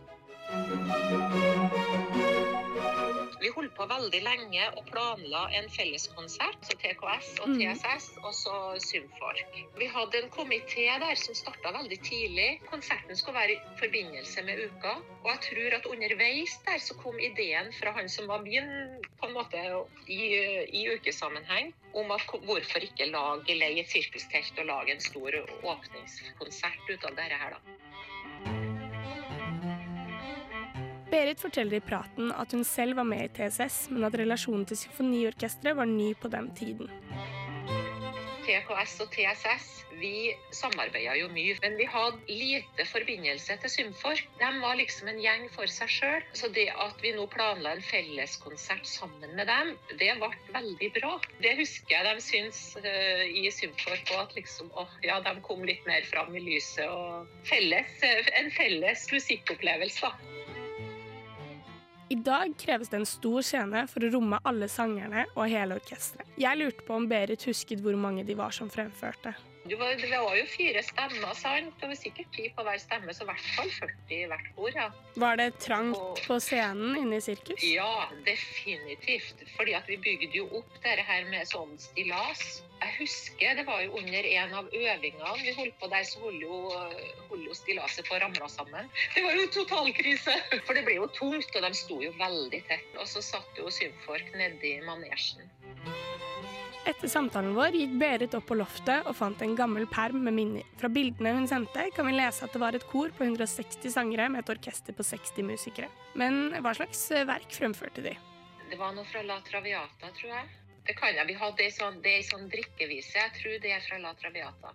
Speaker 13: Vi holdt på veldig lenge og planla en felleskonsert, så TKS og
Speaker 4: Mhm.
Speaker 13: TSS og så Symfork. Vi hadde en komité der som starta veldig tidlig. Konserten skulle være i forbindelse med uka. Og jeg tror at underveis der så kom ideen fra han som var min på en måte i, i ukesammenheng, om at ko- hvorfor ikke lage, leie et sirkustelt og lage en stor åpningskonsert ut av dette her, da.
Speaker 4: Berit forteller i praten at hun selv var med i TSS, men at relasjonen til symfoniorkestret var ny på den tiden.
Speaker 13: TKS og TSS, vi samarbeidet jo mye, men vi hadde lite forbindelse til Symfork. De var liksom en gjeng for seg sjøl. Så det at vi nå planla en felleskonsert sammen med dem, det ble veldig bra. Det husker jeg de syns eh, i Symfork òg, at liksom åh, ja, de kom litt mer fram i lyset og felles, eh, En felles musikkopplevelse, da.
Speaker 4: I dag kreves det en stor scene for å romme alle sangerne og hele orkesteret. Jeg lurte på om Berit husket hvor mange de var som fremførte.
Speaker 13: Du var, det var jo fire stemmer, sant? Det var sikkert ti på hver stemme, så i hvert fall 40 i hvert kor. ja.
Speaker 4: Var det trangt på scenen inne i sirkus?
Speaker 13: Ja, definitivt. Fordi at vi bygde jo opp dette her med sånn stillas. Jeg husker det var jo under en av øvingene vi holdt på der, så holdt jo, holdt jo stillaset på å ramle sammen. Det var jo totalkrise! For det ble jo tungt, og de sto jo veldig tett. Og så satt jo Symfork nedi manesjen.
Speaker 4: Etter samtalen vår gikk Berit opp på loftet og fant en gammel perm med minner. Fra bildene hun sendte, kan vi lese at det var et kor på 160 sangere med et orkester på 60 musikere. Men hva slags verk fremførte de?
Speaker 13: Det var noe fra La Traviata, tror jeg. Det kan jeg. Vi hadde ei sånn, det er en sånn drikkevise. Jeg tror det er fra La Traviata.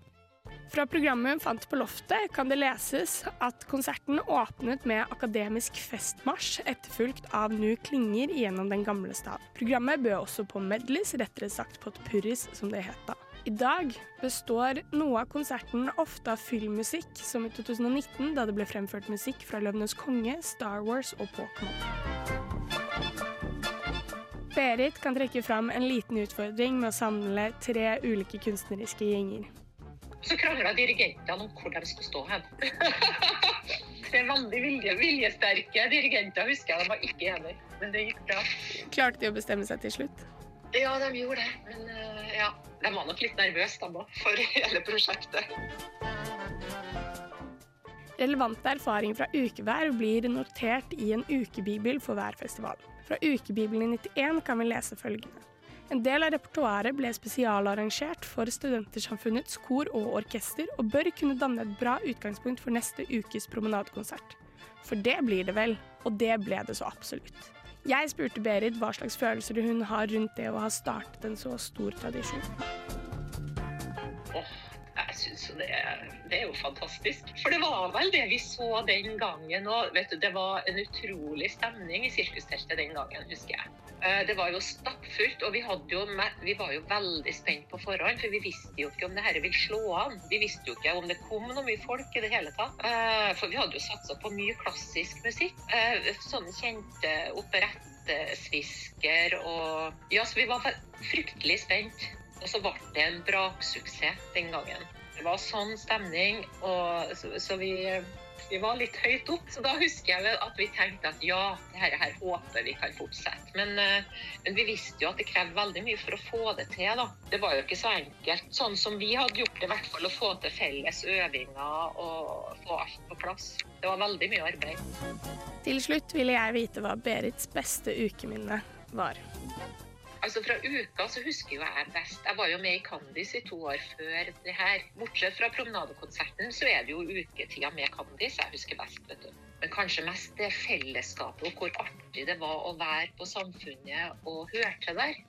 Speaker 4: Fra programmet hun fant på loftet, kan det leses at konserten åpnet med akademisk festmarsj, etterfulgt av Nu klinger gjennom Den gamle stad. Programmet bød også på medleys, rettere sagt på et purris, som det het da. I dag består noe av konserten ofte av fyllmusikk, som i 2019, da det ble fremført musikk fra Løvenes konge, Star Wars og Pokémon. Berit kan trekke fram en liten utfordring med å samle tre ulike kunstneriske gjenger.
Speaker 13: Så krangla dirigentene om hvor de skulle stå hen. Tre veldig vilje, viljesterke dirigenter, husker jeg. De var ikke enige, men det gikk bra.
Speaker 4: Klarte de å bestemme seg til slutt?
Speaker 13: Ja, de gjorde det, men eh, ja, de var nok litt nervøse, de òg, for hele prosjektet.
Speaker 4: Relevant erfaring fra ukevær blir notert i en ukebibel for hver festival. Fra ukebibelen i 91 kan vi lese følgende. En del av repertoaret ble spesialarrangert for Studentersamfunnets kor og orkester, og bør kunne danne et bra utgangspunkt for neste ukes promenadekonsert. For det blir det vel, og det ble det så absolutt. Jeg spurte Berit hva slags følelser hun har rundt det å ha startet en så stor tradisjon.
Speaker 13: Åh, jeg syns jo det, er- det er jo fantastisk. For det var vel det vi så den gangen òg. Vet du, det var en utrolig stemning i sirkusteltet den gangen, husker jeg. Eh, Det var jo stappfullt, og vi, hadde jo, me- vi var jo veldig spent på forhånd. For vi visste jo ikke om det her ville slå an. Vi visste jo ikke om det kom noe mye folk i det hele tatt. Eh, For vi hadde jo satsa på mye klassisk musikk. eh, Sånne kjente operettesvisker og Ja, så vi var fe- fryktelig spent. Og så ble det en braksuksess den gangen. Det var sånn stemning, og så, så vi, vi var litt høyt opp. Så da husker jeg vel at vi tenkte at ja, det her, her håper vi kan fortsette. Men, eh, men vi visste jo at det krevde veldig mye for å få det til. da. Det var jo ikke så enkelt. Sånn som vi hadde gjort det, i hvert fall å få til felles øvinger og få alt på plass. Det var veldig mye arbeid.
Speaker 4: Til slutt ville jeg vite hva Berits beste ukeminne var.
Speaker 13: Altså Fra uka så husker jo jeg best. Jeg var jo med i Candice i to år før det her. Bortsett fra promenadekonserten, så er det jo uketida med Candice jeg husker best. vet du. Men kanskje mest det fellesskapet og hvor artig det var å være på Samfunnet og høre til der.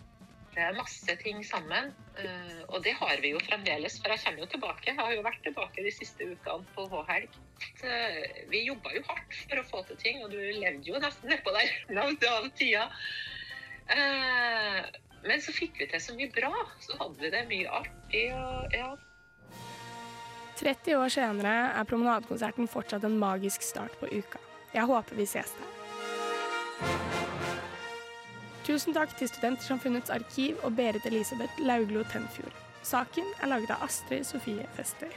Speaker 13: Det er masse ting sammen, eh, og det har vi jo fremdeles. For jeg kommer jo tilbake. Jeg har jo vært tilbake de siste ukene på H-helg. Så eh, Vi jobba jo hardt for å få til ting, og du levde jo nesten nedpå der langt av tida. Eh, Men så fikk vi til så mye bra. Så hadde vi det mye artig og ja.
Speaker 4: 30 år senere er promenadekonserten fortsatt en magisk start på uka. Jeg håper vi ses der. Tusen takk til Studentersamfunnets arkiv og Berit Elisabeth Lauglo Tenfjord. Saken er laget av Astrid Sofie Festøy.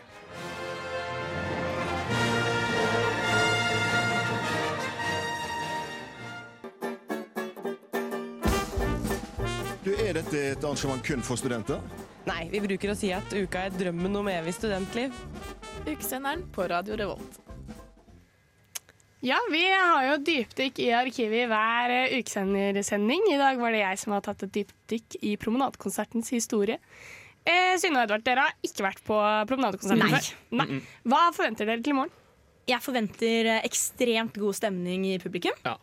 Speaker 14: Du, Er dette et arrangement kun for studenter?
Speaker 15: Nei, vi bruker å si at uka er drømmen om evig studentliv.
Speaker 16: Ukesenderen på Radio Revolt.
Speaker 4: Ja, vi har jo dypdykk i arkivet i hver eh, ukesendersending. I dag var det jeg som har tatt et dypdykk i promenadekonsertens historie. Eh, Synne og Edvard, dere har ikke vært på promenadekonserten
Speaker 5: Nei.
Speaker 4: før. Nei. Hva forventer dere til i morgen?
Speaker 5: Jeg forventer eh, ekstremt god stemning i publikum.
Speaker 6: Ja,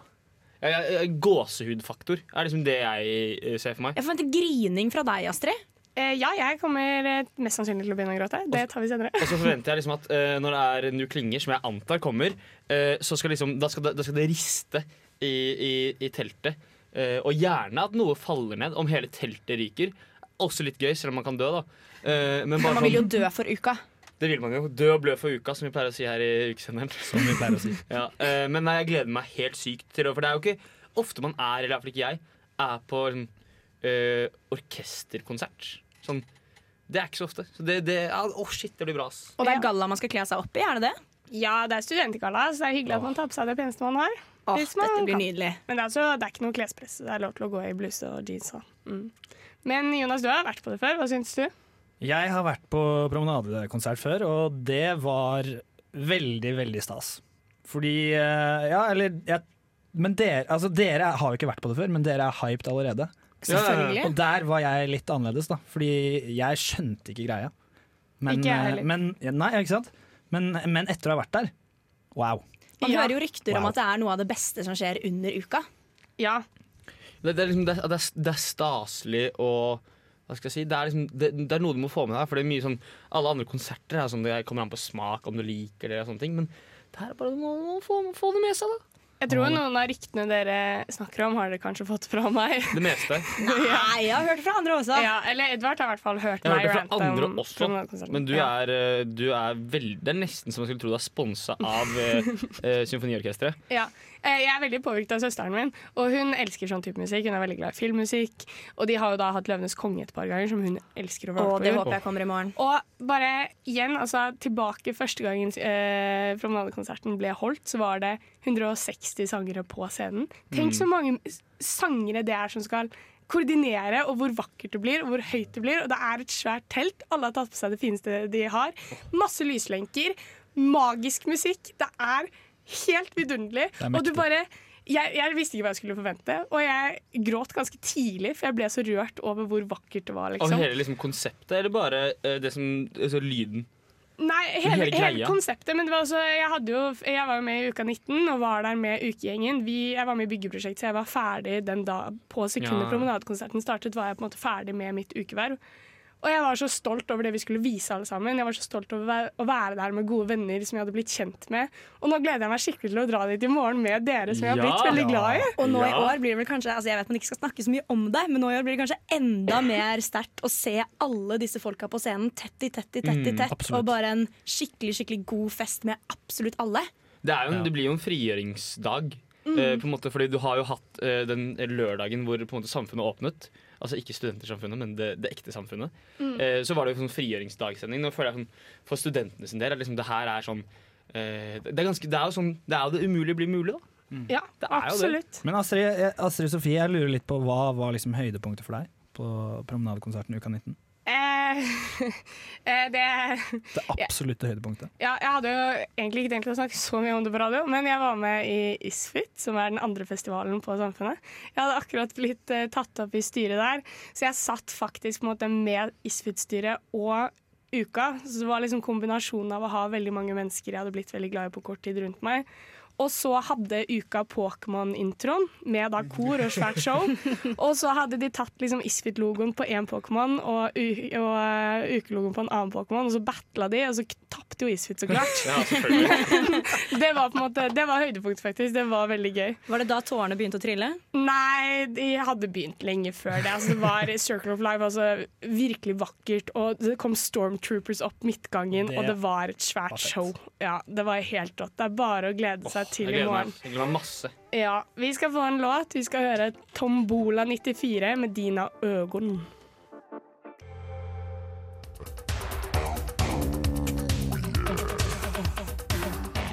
Speaker 6: ja, ja, Gåsehudfaktor er liksom det jeg eh, ser for meg.
Speaker 5: Jeg forventer grining fra deg, Astrid.
Speaker 4: Eh, ja, jeg kommer eh, mest sannsynlig til å begynne å gråte. Det tar vi senere.
Speaker 6: Og så forventer jeg liksom at eh, når det er Nu klinger, som jeg antar kommer, eh, så skal liksom, da, skal det, da skal det riste i, i, i teltet. Eh, og gjerne at noe faller ned, om hele teltet ryker. Også litt gøy, selv om man kan dø, da. Eh, men bare
Speaker 5: Man vil jo
Speaker 6: sånn-
Speaker 5: dø for uka.
Speaker 6: Det vil man jo. Dø og blø for uka, som vi pleier å si her i ukesenderen. Som vi pleier å si. ja, eh, men nei, jeg gleder meg helt sykt til det. For det er jo ikke ofte man er, eller iallfall ikke jeg, er på liksom, eh, orkesterkonsert. Sånn, det er ikke så ofte. Så det, det, ja, å, shit, det blir bra. ass.
Speaker 5: Og det er galla man skal kle seg opp i, er det det?
Speaker 4: Ja, det er studentgalla, så det er hyggelig at man tar på seg det peneste man har.
Speaker 5: Åh,
Speaker 4: hvis man
Speaker 5: dette blir
Speaker 4: kan.
Speaker 5: nydelig.
Speaker 4: Men det er, altså, det er ikke noe klespress. så Det er lov til å gå i bluse og jeans. Og. Mm. Men Jonas, du har vært på det før. Hva syns du?
Speaker 7: Jeg har vært på promenadekonsert før, og det var veldig, veldig stas. Fordi eh, Ja, eller jeg, Men dere, altså, dere har jo ikke vært på det før, men dere er hyped allerede.
Speaker 4: Selvfølgelig.
Speaker 7: Og der var jeg litt annerledes, da. Fordi jeg skjønte ikke greia. Men,
Speaker 5: Ikke jeg heller.
Speaker 7: eh, men, nei, ikke sant? Men, men etter å ha vært der wow.
Speaker 5: Man hører jo rykter om
Speaker 7: Wow.
Speaker 5: at det er noe av det beste som skjer under uka.
Speaker 4: Ja.
Speaker 6: Det, det, er liksom, det, er- det, er- det er staselig og hva skal jeg si? Det er, liksom, det, det er noe du må få med deg. For det er mye sånn, Alle andre konserter er sånn, det kommer an på smak, om du liker det. og sånne ting Men det her er bare noe man må få, få det med seg, da.
Speaker 4: Jeg tror noen av ryktene dere snakker om, har dere kanskje fått fra meg.
Speaker 6: Det meste.
Speaker 4: Nei,
Speaker 5: jeg har hørt fra andre også.
Speaker 4: Ja, eller Edvard har i hvert fall hørt
Speaker 6: Jeg har
Speaker 4: meg
Speaker 6: hørt det
Speaker 4: rante
Speaker 6: fra andre
Speaker 4: om
Speaker 6: også,
Speaker 4: promenadekonserten.
Speaker 6: men du
Speaker 4: Ja.
Speaker 6: er, eh, du er veld... Det er nesten som man skulle tro du er sponsa av eh, eh, symfoniorkesteret.
Speaker 4: Ja. Eh, Jeg er veldig påvirket av søsteren min, og hun elsker sånn type musikk. Hun er veldig glad i filmmusikk, og de har jo da hatt 'Løvenes konge' et par ganger, som hun elsker å være
Speaker 5: Og
Speaker 4: på.
Speaker 5: det håper jeg kommer i morgen.
Speaker 4: Og bare igjen, altså tilbake første gangen eh, promenadekonserten ble holdt, så var det 160 sangere på scenen. Tenk
Speaker 5: Mm.
Speaker 4: så mange s- sangere det er som skal koordinere, og hvor vakkert det blir, og hvor høyt det blir. Og det er et svært telt. Alle har tatt på seg det fineste de har. Masse lyslenker. Magisk musikk. Det er helt vidunderlig.
Speaker 5: Det er
Speaker 4: Og du
Speaker 5: mektig.
Speaker 4: bare jeg, jeg visste ikke hva jeg skulle forvente, og jeg gråt ganske tidlig, for jeg ble så rørt over hvor vakkert det var.
Speaker 6: Av
Speaker 4: Liksom.
Speaker 6: hele liksom, konseptet, eller bare eh, det som, altså, lyden?
Speaker 4: Nei,
Speaker 6: Hele
Speaker 4: hele, hele
Speaker 6: greia.
Speaker 4: konseptet. Men det var også, jeg, hadde jo, jeg var jo med i Uka 19 og var der med ukegjengen. Vi, jeg var med i byggeprosjekt, så jeg var ferdig den da på sekundet
Speaker 5: Ja.
Speaker 4: promenadekonserten startet. var jeg på en måte ferdig med mitt ukeverv. Og jeg var så stolt over det vi skulle vise alle sammen. Jeg var så stolt over å være- å være der med gode venner som jeg hadde blitt kjent med. Og nå gleder jeg meg skikkelig til å dra dit i morgen med dere som jeg har blitt veldig glad i.
Speaker 5: Og nå i år blir det vel kanskje altså Jeg vet man ikke skal snakke så mye om deg, men nå i år blir det kanskje enda mer sterkt å se alle disse folka på scenen tett i tett i tett i
Speaker 6: Mm,
Speaker 5: tett,
Speaker 6: absolutt.
Speaker 5: og bare en skikkelig skikkelig god fest med absolutt alle.
Speaker 6: Det, er jo en, det blir jo en frigjøringsdag.
Speaker 5: Mm.
Speaker 6: eh, på en måte, fordi du har jo hatt eh, den lørdagen hvor på en måte, samfunnet åpnet. Altså ikke studentersamfunnet, men det, det ekte samfunnet.
Speaker 17: Mm.
Speaker 6: Eh, så var det jo sånn frigjøringsdagsending. Nå føler jeg sånn, For studentene sin del er liksom, det her er sånn eh, det, er ganske, det er jo sånn Det er jo det umulige blir mulig, da.
Speaker 4: Ja,
Speaker 6: er jo det.
Speaker 4: absolutt.
Speaker 7: Men Astrid, eh, Astrid Sofie, jeg lurer litt på hva var liksom høydepunktet for deg på promenadekonserten uka 19?
Speaker 4: Eh, eh, det
Speaker 7: Det absolutte høydepunktet.
Speaker 4: Ja, jeg hadde jo egentlig ikke tenkt å snakke så mye om det på radio, men jeg var med i ISFIT, som er den andre festivalen på Samfunnet. Jeg hadde akkurat blitt eh, tatt opp i styret der, så jeg satt faktisk på en måte med ISFIT-styret og uka. Så det var liksom kombinasjonen av å ha veldig mange mennesker jeg hadde blitt veldig glad i på kort tid rundt meg. Og så hadde uka Pokémon-introen, med da kor og svært show. Og så hadde de tatt liksom Isfit-logoen på én Pokémon og, u- og eh, ukelogoen på en annen Pokémon, og så battla de, og så k- tapte jo Isfit, så klart.
Speaker 6: Ja, selvfølgelig.
Speaker 4: det var på en måte Det var høydepunkt, faktisk. Det var veldig gøy.
Speaker 5: Var det da tårene begynte å trille?
Speaker 4: Nei, de hadde begynt lenge før det. Altså, det var Circle of Life, altså virkelig vakkert. Og det kom Stormtroopers opp midtgangen,
Speaker 6: Det
Speaker 4: og det var et svært show. Ja, det var helt rått. Det er bare å glede seg
Speaker 6: Jeg
Speaker 4: til i
Speaker 6: gleder
Speaker 4: morgen.
Speaker 6: meg, jeg gleder meg masse.
Speaker 4: Ja, vi skal få en låt. Vi skal høre Tombola 94 med Dina Øgon.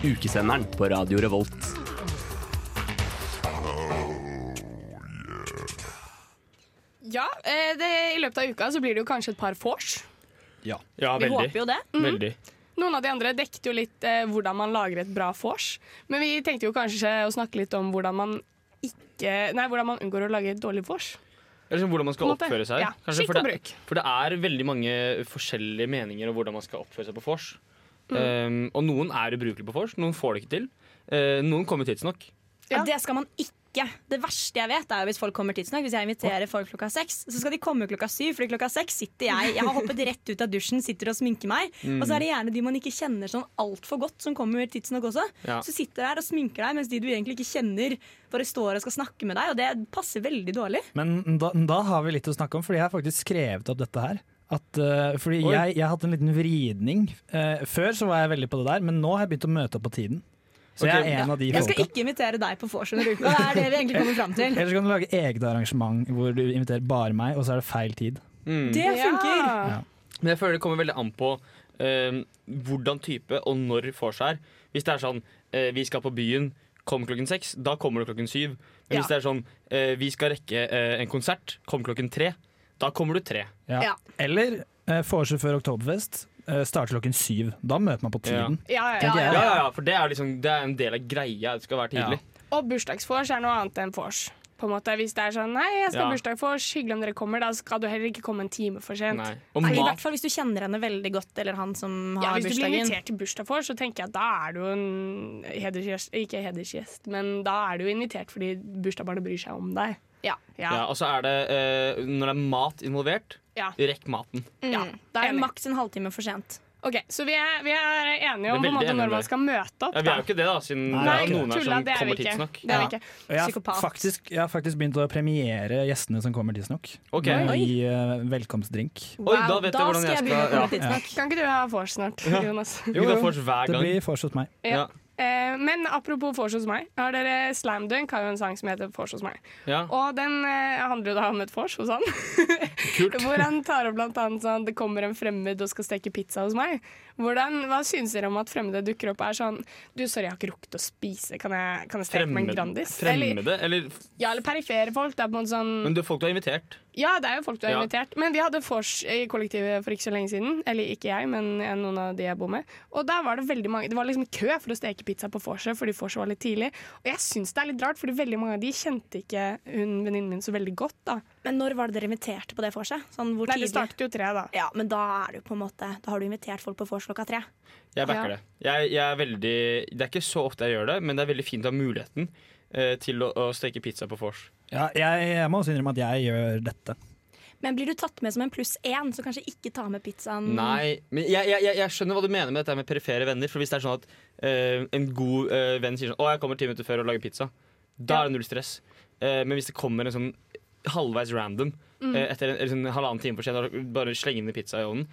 Speaker 18: Ukesenderen på Radio Revolt.
Speaker 4: Ja, eh, det, i løpet av uka så blir det jo kanskje et par vors.
Speaker 6: Ja,
Speaker 4: Vi
Speaker 6: veldig.
Speaker 4: håper jo det. Mhm.
Speaker 6: Veldig.
Speaker 4: Noen av de andre dekket jo litt eh, hvordan man lager et bra vors, men vi tenkte jo kanskje å snakke litt om hvordan man ikke Nei, hvordan man unngår å lage et dårlig vors.
Speaker 6: Eller sånn hvordan man
Speaker 4: På
Speaker 6: skal
Speaker 4: en måte.
Speaker 6: oppføre seg.
Speaker 4: Ja, skikk
Speaker 6: for,
Speaker 4: og
Speaker 6: det,
Speaker 4: bruk.
Speaker 6: for det er veldig mange forskjellige meninger om hvordan man skal oppføre seg på vors.
Speaker 5: Mm.
Speaker 6: Um, og noen er ubrukelige på vors, noen får det ikke til. Eh, noen kommer tidsnok.
Speaker 5: Ja. Det skal man ikke. Det verste jeg vet, er jo hvis folk kommer tidsnok. Hvis jeg inviterer folk klokka seks, så skal de komme klokka syv. Fordi klokka seks sitter jeg Jeg har hoppet rett ut av dusjen, sitter og sminker meg.
Speaker 15: Mm.
Speaker 5: Og så er det gjerne de man ikke kjenner sånn altfor godt, som kommer tidsnok også.
Speaker 15: Ja.
Speaker 5: Så sitter der og sminker deg, mens de du egentlig ikke kjenner, bare står og skal snakke med deg. Og det passer veldig dårlig.
Speaker 7: Men da, da har vi litt å snakke om, fordi jeg har faktisk skrevet opp dette her. At, eh, fordi
Speaker 5: Oi.
Speaker 7: jeg, jeg har hatt en liten vridning. Eh, før så var jeg veldig på det der, men nå har jeg begynt å møte opp på tiden. Så jeg er en av de
Speaker 5: Jeg skal
Speaker 7: folka.
Speaker 5: ikke invitere deg på vors under uka. Det er det vi egentlig kommer fram til.
Speaker 7: Eller så kan du lage eget arrangement hvor du inviterer bare meg, og så er det feil tid.
Speaker 6: Mm.
Speaker 5: Det funker!
Speaker 6: Men jeg føler det kommer veldig an på eh, hvordan type og når vors er. Hvis det er sånn eh, vi skal på byen, kom klokken seks, da kommer du klokken syv. Men
Speaker 7: Ja.
Speaker 6: hvis det er sånn eh, vi skal rekke eh, en konsert, kom klokken tre, da kommer du tre.
Speaker 7: Ja.
Speaker 6: Ja.
Speaker 7: Eller eh, vorset før Oktoberfest eh, starter klokken syv. Da møter man på tiden.
Speaker 4: Ja, ja,
Speaker 7: tenker
Speaker 4: ja,
Speaker 7: jeg.
Speaker 6: ja, ja, for det er, liksom, det er en del av greia. Det skal være tidlig.
Speaker 4: Og bursdagsvors er noe annet enn vors. På en måte, Hvis det er sånn 'nei, jeg skal ha
Speaker 6: Ja.
Speaker 4: bursdag vors, hyggelig om dere kommer', da skal du heller ikke komme en time for sent.
Speaker 6: Nei.
Speaker 5: Nei, I hvert fall hvis du kjenner henne veldig godt, eller han som
Speaker 4: Ja,
Speaker 5: har
Speaker 4: hvis du blir
Speaker 5: bursdagen.
Speaker 4: invitert til bursdag vors, så tenker jeg at da er du en hedersgjest, ikke hedersgjest, men da er du jo invitert fordi bursdagsbarnet bryr seg om deg.
Speaker 5: Ja.
Speaker 6: Ja. og så er det eh, Når det er mat involvert,
Speaker 4: Ja.
Speaker 6: rekk maten.
Speaker 5: Ja, da er det maks en halvtime for sent.
Speaker 4: Ok, Så vi er, vi er enige om
Speaker 6: Det er
Speaker 4: på
Speaker 6: veldig
Speaker 4: en måte
Speaker 6: enig
Speaker 4: når man
Speaker 6: der.
Speaker 4: skal møte opp.
Speaker 6: Ja, vi er jo ikke det, da, siden
Speaker 7: Nei,
Speaker 6: det
Speaker 7: vi er
Speaker 6: er
Speaker 7: ikke
Speaker 6: noen
Speaker 7: det.
Speaker 6: her
Speaker 4: Tulla,
Speaker 6: som
Speaker 4: det er vi
Speaker 6: kommer
Speaker 4: ikke.
Speaker 6: tidsnok.
Speaker 4: Det er vi ikke.
Speaker 7: Og jeg, har faktisk, jeg har faktisk begynt å premiere gjestene som kommer tidsnok.
Speaker 6: Ok.
Speaker 7: Med å
Speaker 6: Oi.
Speaker 7: Gi eh, velkomstdrink.
Speaker 6: Oi, da vet jeg hvordan jeg skal
Speaker 4: Kan ikke du ha vors snart,
Speaker 7: Ja.
Speaker 4: Jonas?
Speaker 7: Jo, jo. Det blir vors hos meg.
Speaker 4: Ja. Eh, men apropos vors hos meg. Har dere Slam Dunk har jo en sang som heter Vors hos meg.
Speaker 6: Ja.
Speaker 4: Og den eh, handler jo da om et vors hos han. Hvor han tar opp blant annet sånn Det kommer en fremmed og skal steke pizza hos meg. Hvordan, hva synes dere om at fremmede dukker opp og er sånn Du, sorry, jeg har ikke rukket å spise. Kan jeg, kan jeg steke meg en
Speaker 6: Fremmede,
Speaker 4: Grandis? Eller,
Speaker 6: fremmede eller
Speaker 4: ja, eller perifere folk. Det er på en måte sånn
Speaker 6: Men du, folk du har invitert.
Speaker 4: ja, det er jo folk du har
Speaker 6: Ja.
Speaker 4: invitert. Men vi hadde vors i kollektivet for ikke så lenge siden. Eller ikke jeg, men noen av de jeg bor med. Og der var det veldig mange Det var liksom kø for å steke pizza på vorset fordi vorset var litt tidlig. Og jeg syns det er litt rart, fordi veldig mange av de kjente ikke hun venninnen min så veldig godt, da.
Speaker 5: Men når var det dere inviterte på det vorset? Sånn, hvor
Speaker 4: Nei, det
Speaker 5: tidlig?
Speaker 4: startet jo tre, da.
Speaker 5: Ja, men da er du på en måte Da har du invitert folk på vors klokka tre.
Speaker 6: Jeg backer det. Jeg, jeg er veldig, det er ikke så ofte jeg gjør det, men det er veldig fint å ha muligheten eh, til å, å steke pizza på vors.
Speaker 7: Ja, jeg, jeg må også innrømme at jeg gjør dette.
Speaker 5: Men blir du tatt med som en pluss én, så kanskje ikke ta med
Speaker 4: Mm.
Speaker 5: pizzaen
Speaker 6: Nei, men jeg, jeg, jeg- jeg skjønner hva du mener med dette med perifere venner. For hvis det er sånn at eh, en god eh, venn sier sånn 'Å, jeg kommer ti minutter før og lager pizza', da er det null stress. Eh, men hvis det kommer en sånn halvveis random
Speaker 18: Mm.
Speaker 6: eh, etter en, eller sånn halvannen time for sent og bare slenger inn pizza i ovnen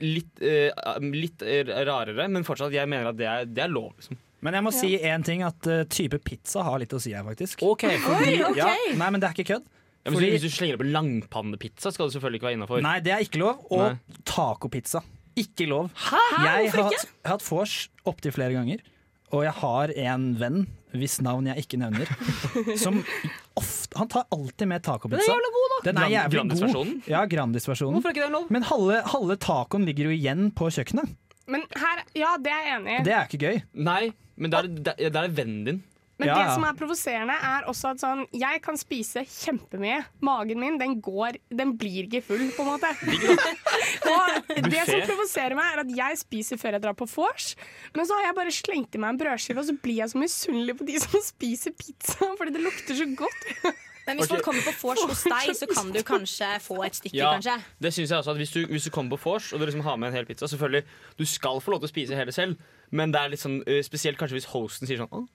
Speaker 6: Litt, eh, litt eh, rarere, men fortsatt, jeg mener at det er, det er lov, liksom.
Speaker 7: Men jeg må si én ting, at eh, type pizza har litt å si her, faktisk. Fordi-
Speaker 6: Oi, ok.
Speaker 7: ja, nei, men det er ikke kødd.
Speaker 6: Ja, men
Speaker 7: Fordi-
Speaker 6: Hvis du slenger opp en langpannepizza, skal det selvfølgelig ikke være innafor.
Speaker 7: Nei, det er ikke lov. Og tacopizza. Ikke lov.
Speaker 6: Hæ?
Speaker 7: Jeg
Speaker 6: Hvorfor
Speaker 7: har
Speaker 6: ikke?
Speaker 7: hatt, jeg har hatt vors opptil flere ganger, og jeg har en venn, hvis navn jeg ikke nevner, som ofte Han tar alltid med tacopizza.
Speaker 6: Den er jævla god, da.
Speaker 7: Den er
Speaker 6: Grand-
Speaker 7: jævlig god.
Speaker 6: Grandis-versjonen?
Speaker 7: Ja, Grandis-versjonen.
Speaker 6: Hvorfor er ikke den lov?
Speaker 7: Men halve, halve tacoen ligger jo igjen på kjøkkenet.
Speaker 4: Men her Ja, det er jeg enig i.
Speaker 7: Det er ikke gøy.
Speaker 6: Nei, men det er, det er- det er vennen din.
Speaker 4: Men det som er provoserende, er også at sånn Jeg kan spise kjempemye. Magen min, den går Den blir ikke full, på en måte. og det som
Speaker 6: Buffet.
Speaker 4: provoserer meg, er at jeg spiser før jeg drar på vors, men så har jeg bare slengt i meg en brødskive, og så blir jeg så misunnelig på de som spiser pizza, fordi det lukter så godt.
Speaker 5: Men hvis folk kommer på vors hos deg, så kan du kanskje få et stykke,
Speaker 6: Ja,
Speaker 5: kanskje.
Speaker 6: det synes jeg også at hvis du, hvis du kommer på vors og du liksom har med en hel pizza Selvfølgelig, Du skal få lov til å spise hele selv, men det er litt sånn, eh, spesielt kanskje hvis hosten sier sånn «Å,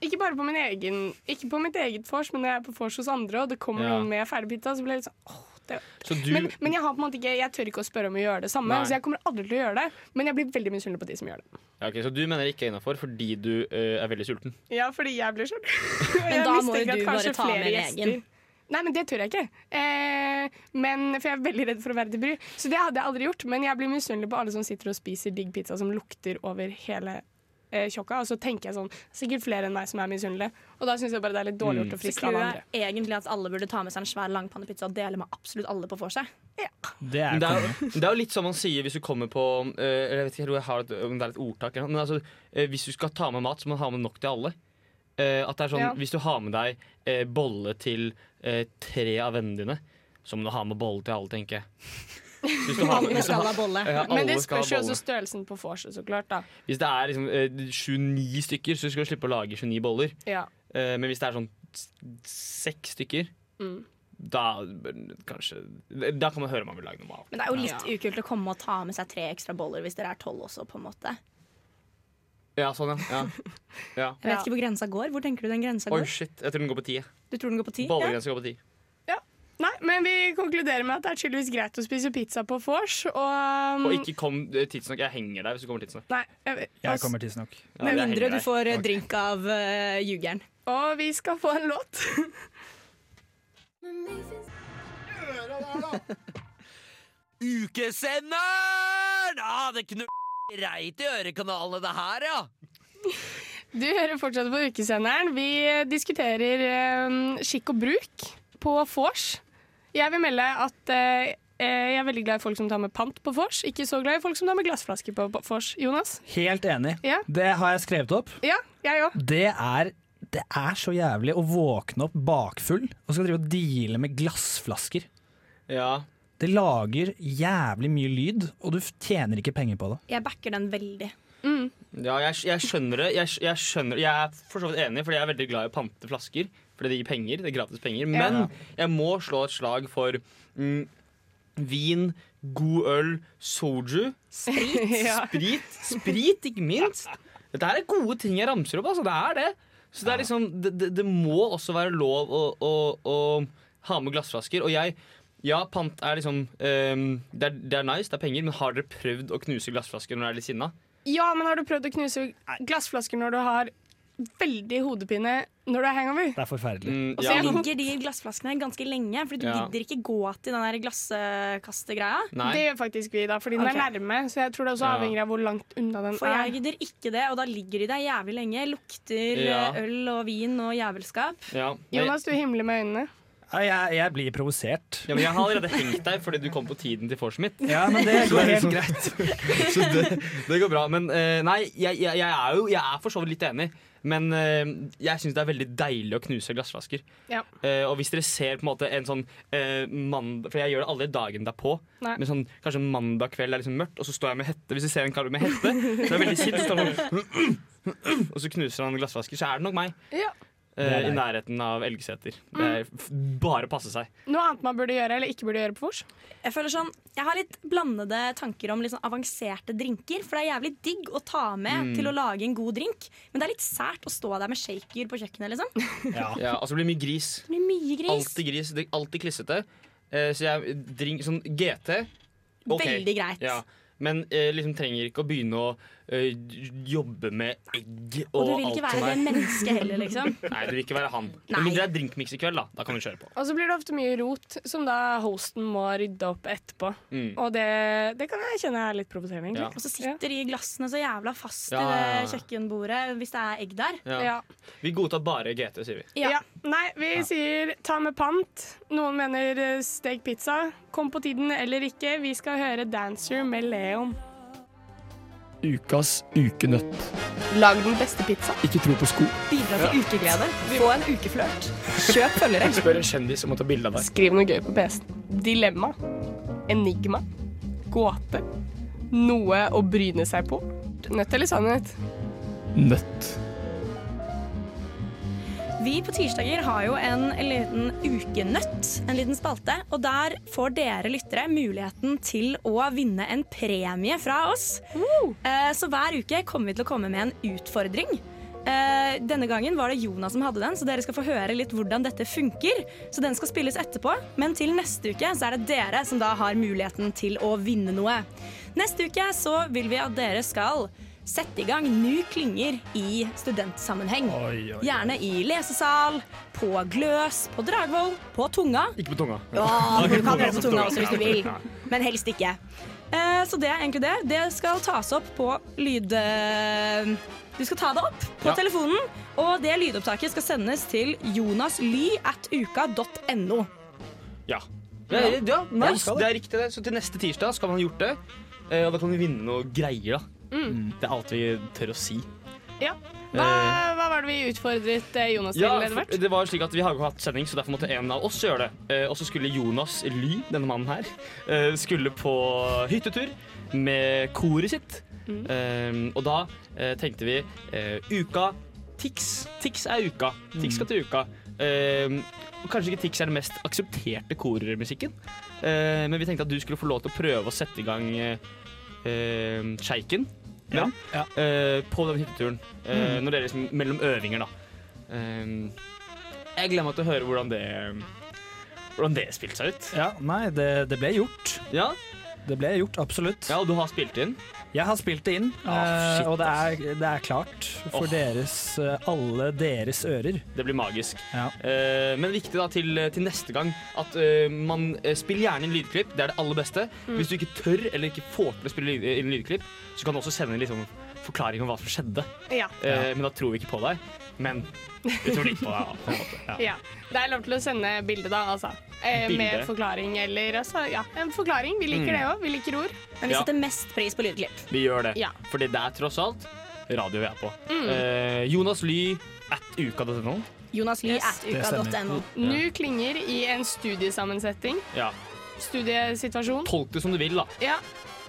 Speaker 4: Ikke bare på min egen Ikke på mitt eget vors, men når jeg er på vors hos andre, og det kommer
Speaker 6: Ja.
Speaker 4: noen med ferdig pizza, så blir jeg litt sånn åh, det
Speaker 6: Så du
Speaker 4: men, men jeg har på en måte ikke Jeg tør ikke å spørre om å gjøre det samme,
Speaker 6: Nei.
Speaker 4: så jeg kommer aldri til å gjøre det. Men jeg blir veldig misunnelig på de som gjør det.
Speaker 6: ja, ok, Så du mener ikke innafor fordi du eh, er veldig sulten?
Speaker 4: Ja, fordi jeg blir sjuk.
Speaker 5: Men da må jo du bare ta med legen.
Speaker 4: Nei, men det tør jeg ikke. Eh, men, for jeg er veldig redd for å være til bry. Så det hadde jeg aldri gjort. Men jeg blir misunnelig på alle som sitter og spiser digg pizza som lukter over hele eh, kjokka. Og så tenker jeg sånn det er Sikkert flere enn meg som er misunnelige. Og da syns jeg bare det er litt dårlig gjort å
Speaker 5: Så
Speaker 4: friste alle
Speaker 5: clouet
Speaker 4: andre.
Speaker 5: er egentlig at alle burde ta med seg en svær langpannepizza og dele med absolutt alle på vorset.
Speaker 7: Det er,
Speaker 6: Men det, er, jo- det er jo litt som man sier hvis du kommer på eh, eller Jeg vet ikke jeg tror jeg har et, om det er et ordtak, eller noe, men altså, eh, hvis du skal ta med mat, så må du ha med nok til alle. Eh, at det er sånn,
Speaker 18: Ja.
Speaker 6: Hvis du har med deg eh, bolle til eh, tre av vennene dine, så må du ha med bolle til alle, tenker jeg. Hvis du har med-
Speaker 4: Alle
Speaker 6: hvis du har-
Speaker 4: skal ha bolle.
Speaker 6: Ja,
Speaker 4: Men det
Speaker 6: alle skal ha
Speaker 4: spørs jo
Speaker 6: bolle.
Speaker 4: også størrelsen på vorset, så klart, da.
Speaker 6: Hvis det er liksom, eh, 29 stykker, så skal du slippe å lage 29 boller.
Speaker 4: Ja.
Speaker 6: Eh, men hvis det er sånn s- seks stykker,
Speaker 4: Mm.
Speaker 6: da bør- kanskje Da kan man høre om man vil lage noe mat.
Speaker 5: Men det er jo litt ukult å komme og ta med seg tre ekstra boller hvis dere er tolv også, på en måte.
Speaker 6: Ja, sånn, ja. ja. ja.
Speaker 5: Jeg vet ikke hvor grensa går. Hvor tenker du den grensa
Speaker 6: Oi,
Speaker 5: går?
Speaker 6: shit. Jeg tror den går på ti.
Speaker 5: Du tror den går på ti?
Speaker 6: Bollegrensa går på ti.
Speaker 4: Nei, men Men vi konkluderer med at det er tydeligvis greit å spise pizza på vors. Og, um,
Speaker 6: Og ikke kom eh, tidsnok. Jeg henger deg hvis du kommer tidsnok.
Speaker 4: Nei, jeg,
Speaker 7: Jeg kommer tidsnok.
Speaker 5: Med mindre du får eh, drink av uh, jugeren.
Speaker 4: Og vi skal få en låt.
Speaker 17: Ukesenderen! Ah, det knu... Reit i ørekanalene det her, ja.
Speaker 4: Du hører fortsatt på Ukesenderen. Vi eh, diskuterer eh, skikk og bruk på vors. Jeg vil melde at eh, eh, jeg er veldig glad i folk som tar med pant på vors. Ikke så glad i folk som tar med glassflasker på på vors. Jonas?
Speaker 7: Helt enig.
Speaker 4: Ja.
Speaker 7: Det har jeg skrevet opp.
Speaker 4: Ja, jeg òg.
Speaker 7: Det er, det er så jævlig å våkne opp bakfull og skal drive og deale med glassflasker.
Speaker 6: Ja.
Speaker 7: Det lager jævlig mye lyd, og du f- tjener ikke penger på det.
Speaker 5: Jeg backer den veldig.
Speaker 4: Mm.
Speaker 6: Ja, jeg, jeg skjønner det. Jeg, jeg, skjønner, jeg er for så vidt enig, fordi jeg er veldig glad i å pante flasker. Fordi det gir penger. Det er gratis penger.
Speaker 18: Ja.
Speaker 6: Men jeg må slå et slag for mm, vin, god øl, soju, sprit,
Speaker 18: Ja.
Speaker 6: sprit, sprit, ikke minst. Dette her er gode ting jeg ramser opp. Altså, det er det. Så det, er liksom, det, det, det må også være lov å, å, å ha med glassflasker. Og jeg ja, pant er liksom ehm, det, er, det er nice, det er penger, men har dere prøvd å knuse glassflasker når dere er litt sinna?
Speaker 4: Ja, men har du prøvd å knuse glassflasker når du har veldig hodepine når du er hangover?
Speaker 7: Det er forferdelig.
Speaker 6: Mm,
Speaker 5: Og så ligger de glassflaskene ganske lenge, Fordi du
Speaker 4: Ja.
Speaker 5: gidder ikke gå til den der glasskastegreia.
Speaker 4: Nei. Det gjør faktisk vi, da, fordi den er
Speaker 5: Ok.
Speaker 4: nærme. Så jeg tror det også
Speaker 5: Ja.
Speaker 4: avhenger av hvor langt unna den
Speaker 5: For jeg
Speaker 4: er.
Speaker 5: gidder ikke det, og da ligger de der jævlig lenge. Lukter
Speaker 7: Ja.
Speaker 5: eh, øl og vin og jævelskap.
Speaker 4: Jonas, du himler med øynene.
Speaker 7: Ja, Jeg, jeg blir provosert.
Speaker 6: Ja, men jeg har allerede hengt deg fordi du kom på tiden til vorset mitt.
Speaker 7: Ja, men det
Speaker 6: Så
Speaker 7: går
Speaker 6: er
Speaker 7: helt
Speaker 6: greit. Så det, det går bra. Men eh, nei, jeg, jeg, jeg er jo jeg er for så vidt litt enig. Men eh, jeg syns det er veldig deilig å knuse glassflasker.
Speaker 4: Ja.
Speaker 6: Eh, og hvis dere ser på en måte en sånn eh, mandag For jeg gjør det aldri dagen derpå.
Speaker 4: Nei.
Speaker 6: Men sånn, kanskje mandag kveld er liksom mørkt, og så står jeg med hette. Hvis du ser en kar med hette, så er jeg veldig sint, så står han sånn og så knuser han glassflasker, så er det nok meg.
Speaker 4: Ja.
Speaker 6: eh,
Speaker 4: Det er
Speaker 6: I
Speaker 4: deg.
Speaker 6: nærheten av Elgeseter. Det er f bare å passe seg.
Speaker 4: Noe annet man burde gjøre eller ikke burde gjøre på vors?
Speaker 5: Jeg føler sånn, jeg har litt blandede tanker om litt sånn avanserte drinker. For det er jævlig digg å ta med
Speaker 6: Mm.
Speaker 5: til å lage en god drink. Men det er litt sært å stå der med shaker på kjøkkenet, liksom.
Speaker 6: Ja. og så blir det mye gris.
Speaker 5: Det blir mye gris.
Speaker 6: Alltid gris. Det er alltid klissete. Eh, så jeg drink, sånn GT ok.
Speaker 5: Veldig greit.
Speaker 6: Ja. Men eh, liksom trenger ikke å begynne å eh, jobbe med egg og,
Speaker 5: Og du vil ikke
Speaker 6: alt som
Speaker 5: være
Speaker 6: er.
Speaker 5: det mennesket heller, liksom.
Speaker 6: Nei, du vil ikke være han.
Speaker 5: Nei.
Speaker 6: Med mindre det er drinkmiks i kveld, da. Da kan du kjøre på.
Speaker 4: Og så blir det ofte mye rot, som da hosten må rydde opp etterpå.
Speaker 6: Mm.
Speaker 4: Og det, det kan jeg kjenne er litt provoserende, egentlig.
Speaker 6: Ja.
Speaker 5: Og så sitter de glassene så jævla fast
Speaker 6: Ja, ja, ja.
Speaker 5: i det kjøkkenbordet hvis det er egg der.
Speaker 6: Ja. Vi godtar bare GT, sier vi.
Speaker 4: Ja. Nei, vi sier ta med pant. Noen mener eh, stek pizza. Kom på tiden eller ikke. Vi skal høre 'Dancer' med Leon.
Speaker 9: Ukas ukenøtt.
Speaker 16: Lag den beste pizza.
Speaker 9: Ikke tro på sko.
Speaker 16: Bidra til ukeglede. Få en ukeflørt. Kjøp følgere.
Speaker 9: Spør en kjendis om å ta bilde av deg.
Speaker 16: Skriv noe gøy på PC-en. Dilemma. Enigma. Gåte. Noe å bryne seg på. Nødt eller sannhet?
Speaker 9: Nøtt.
Speaker 5: Vi på tirsdager har jo en liten ukenøtt, en liten spalte. Og der får dere lyttere muligheten til å vinne en premie fra oss. Eh, Så hver uke kommer vi til å komme med en utfordring. Eh, Denne gangen var det Jonas som hadde den, så dere skal få høre litt hvordan dette funker. Så den skal spilles etterpå, men til neste uke så er det dere som da har muligheten til å vinne noe. Neste uke så vil vi at dere skal sette i gang nye klynger i studentsammenheng.
Speaker 6: oi, oi.
Speaker 5: Gjerne i lesesal, på Gløs, på Dragvoll, på Tunga.
Speaker 6: Ikke på tunga.
Speaker 5: Ja, du kan gjøre det på tunga også hvis du vil,
Speaker 6: Ja.
Speaker 5: men helst ikke. Eh, Så det er egentlig det. Det skal tas opp på lyd... eh, Du skal ta det opp på
Speaker 6: Ja.
Speaker 5: telefonen, og det lydopptaket skal sendes til jonasly.uka.no.
Speaker 6: Ja. Ja, ja, ja,
Speaker 5: Ja,
Speaker 6: nice.
Speaker 5: skal det.
Speaker 6: Det er riktig, det. Så til neste tirsdag skal man ha gjort det. Eh, Og da kan vi vinne noe greier, da.
Speaker 5: Mm.
Speaker 6: Det er alt vi tør å si.
Speaker 4: Ja. Hva,
Speaker 6: Eh.
Speaker 4: hva var det vi utfordret eh, Jonas
Speaker 6: Ja,
Speaker 4: til,
Speaker 6: for
Speaker 4: Edvard?
Speaker 6: det var jo slik at Vi har jo ikke hatt sending, så derfor måtte en av oss gjøre det. Eh, og så skulle Jonas Ly, denne mannen her, eh, skulle på hyttetur med koret sitt.
Speaker 18: Mm.
Speaker 6: Eh, og da eh, tenkte vi eh, uka Tix. Tix er uka.
Speaker 18: Mm.
Speaker 6: Tix skal til uka. Eh, og kanskje ikke Tix er den mest aksepterte kormusikken, eh, men vi tenkte at du skulle få lov til å prøve å sette i gang eh, eh, sjeiken. Men, eh, på den hytteturen. Eh,
Speaker 18: Mm.
Speaker 6: Når det er liksom mellom øvinger, da. Eh, jeg gleder meg til å høre hvordan det hvordan det spilte seg ut.
Speaker 7: Ja, nei, det, det ble gjort.
Speaker 6: Ja.
Speaker 7: Det ble gjort, absolutt.
Speaker 6: Ja, og du har spilt inn?
Speaker 7: Jeg har spilt det inn,
Speaker 6: Ah, shit,
Speaker 7: eh, og det er, det er klart for
Speaker 6: Åh.
Speaker 7: deres, eh, alle deres ører.
Speaker 6: Det blir magisk. Eh, men viktig da til, til neste gang at eh, man eh, spiller gjerne inn lydklipp. Det er det aller beste.
Speaker 7: Mm.
Speaker 6: Hvis du ikke tør eller ikke får til å spille lyd, inn lydklipp, så kan du også sende en litt sånn forklaring om hva som skjedde.
Speaker 4: Ja.
Speaker 6: Eh, men da tror vi ikke på deg. Men vi tror litt på deg. da, På en måte. Ja.
Speaker 4: Ja. Det er lov til å sende bilde, da, altså. Eh,
Speaker 6: Bilde.
Speaker 4: med forklaring eller altså, Ja, en forklaring. Vi liker
Speaker 6: Mm.
Speaker 4: det òg. Vi liker ord.
Speaker 6: Men vi Ja. setter
Speaker 4: mest pris på lydklipp.
Speaker 6: Vi gjør det.
Speaker 4: Ja.
Speaker 6: Fordi det er tross alt radio vi er på.
Speaker 4: Mm.
Speaker 6: Eh, Jonas Ly at uka.no.
Speaker 5: Jonas Lie at
Speaker 6: det stemmer.
Speaker 5: uka.no.
Speaker 6: Ja.
Speaker 4: Nu klinger i en studiesammensetning.
Speaker 6: Ja.
Speaker 4: Studiesituasjon.
Speaker 6: Tolk det som du vil, da.
Speaker 4: Ja.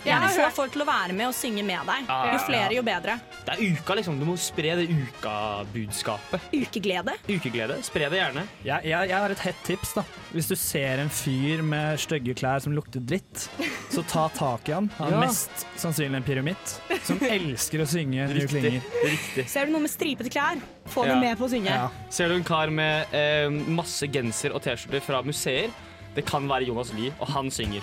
Speaker 4: Jeg
Speaker 5: Gjerne
Speaker 4: har
Speaker 5: få
Speaker 4: hørt
Speaker 5: folk til å være med og synge med deg.
Speaker 6: Ja, ja, Ah,
Speaker 5: Jo
Speaker 6: ja.
Speaker 5: flere, jo bedre.
Speaker 6: Det er uka, liksom. Du må spre det ukabudskapet.
Speaker 5: Ukeglede.
Speaker 6: Ukeglede. Spre det gjerne.
Speaker 7: Jeg, jeg, jeg har et hett tips. da Hvis du ser en fyr med stygge klær som lukter dritt, så ta tak i han. Han er
Speaker 5: Ja.
Speaker 7: mest sannsynlig en pyramitt som elsker å synge nye klinger.
Speaker 6: Riktig.
Speaker 5: Ser du noe med stripete klær, få
Speaker 6: Ja.
Speaker 5: dem med på å synge.
Speaker 6: Ser du en kar med eh, masse genser og T-skjorter fra museer? Det kan være Jonas Lie, og han synger.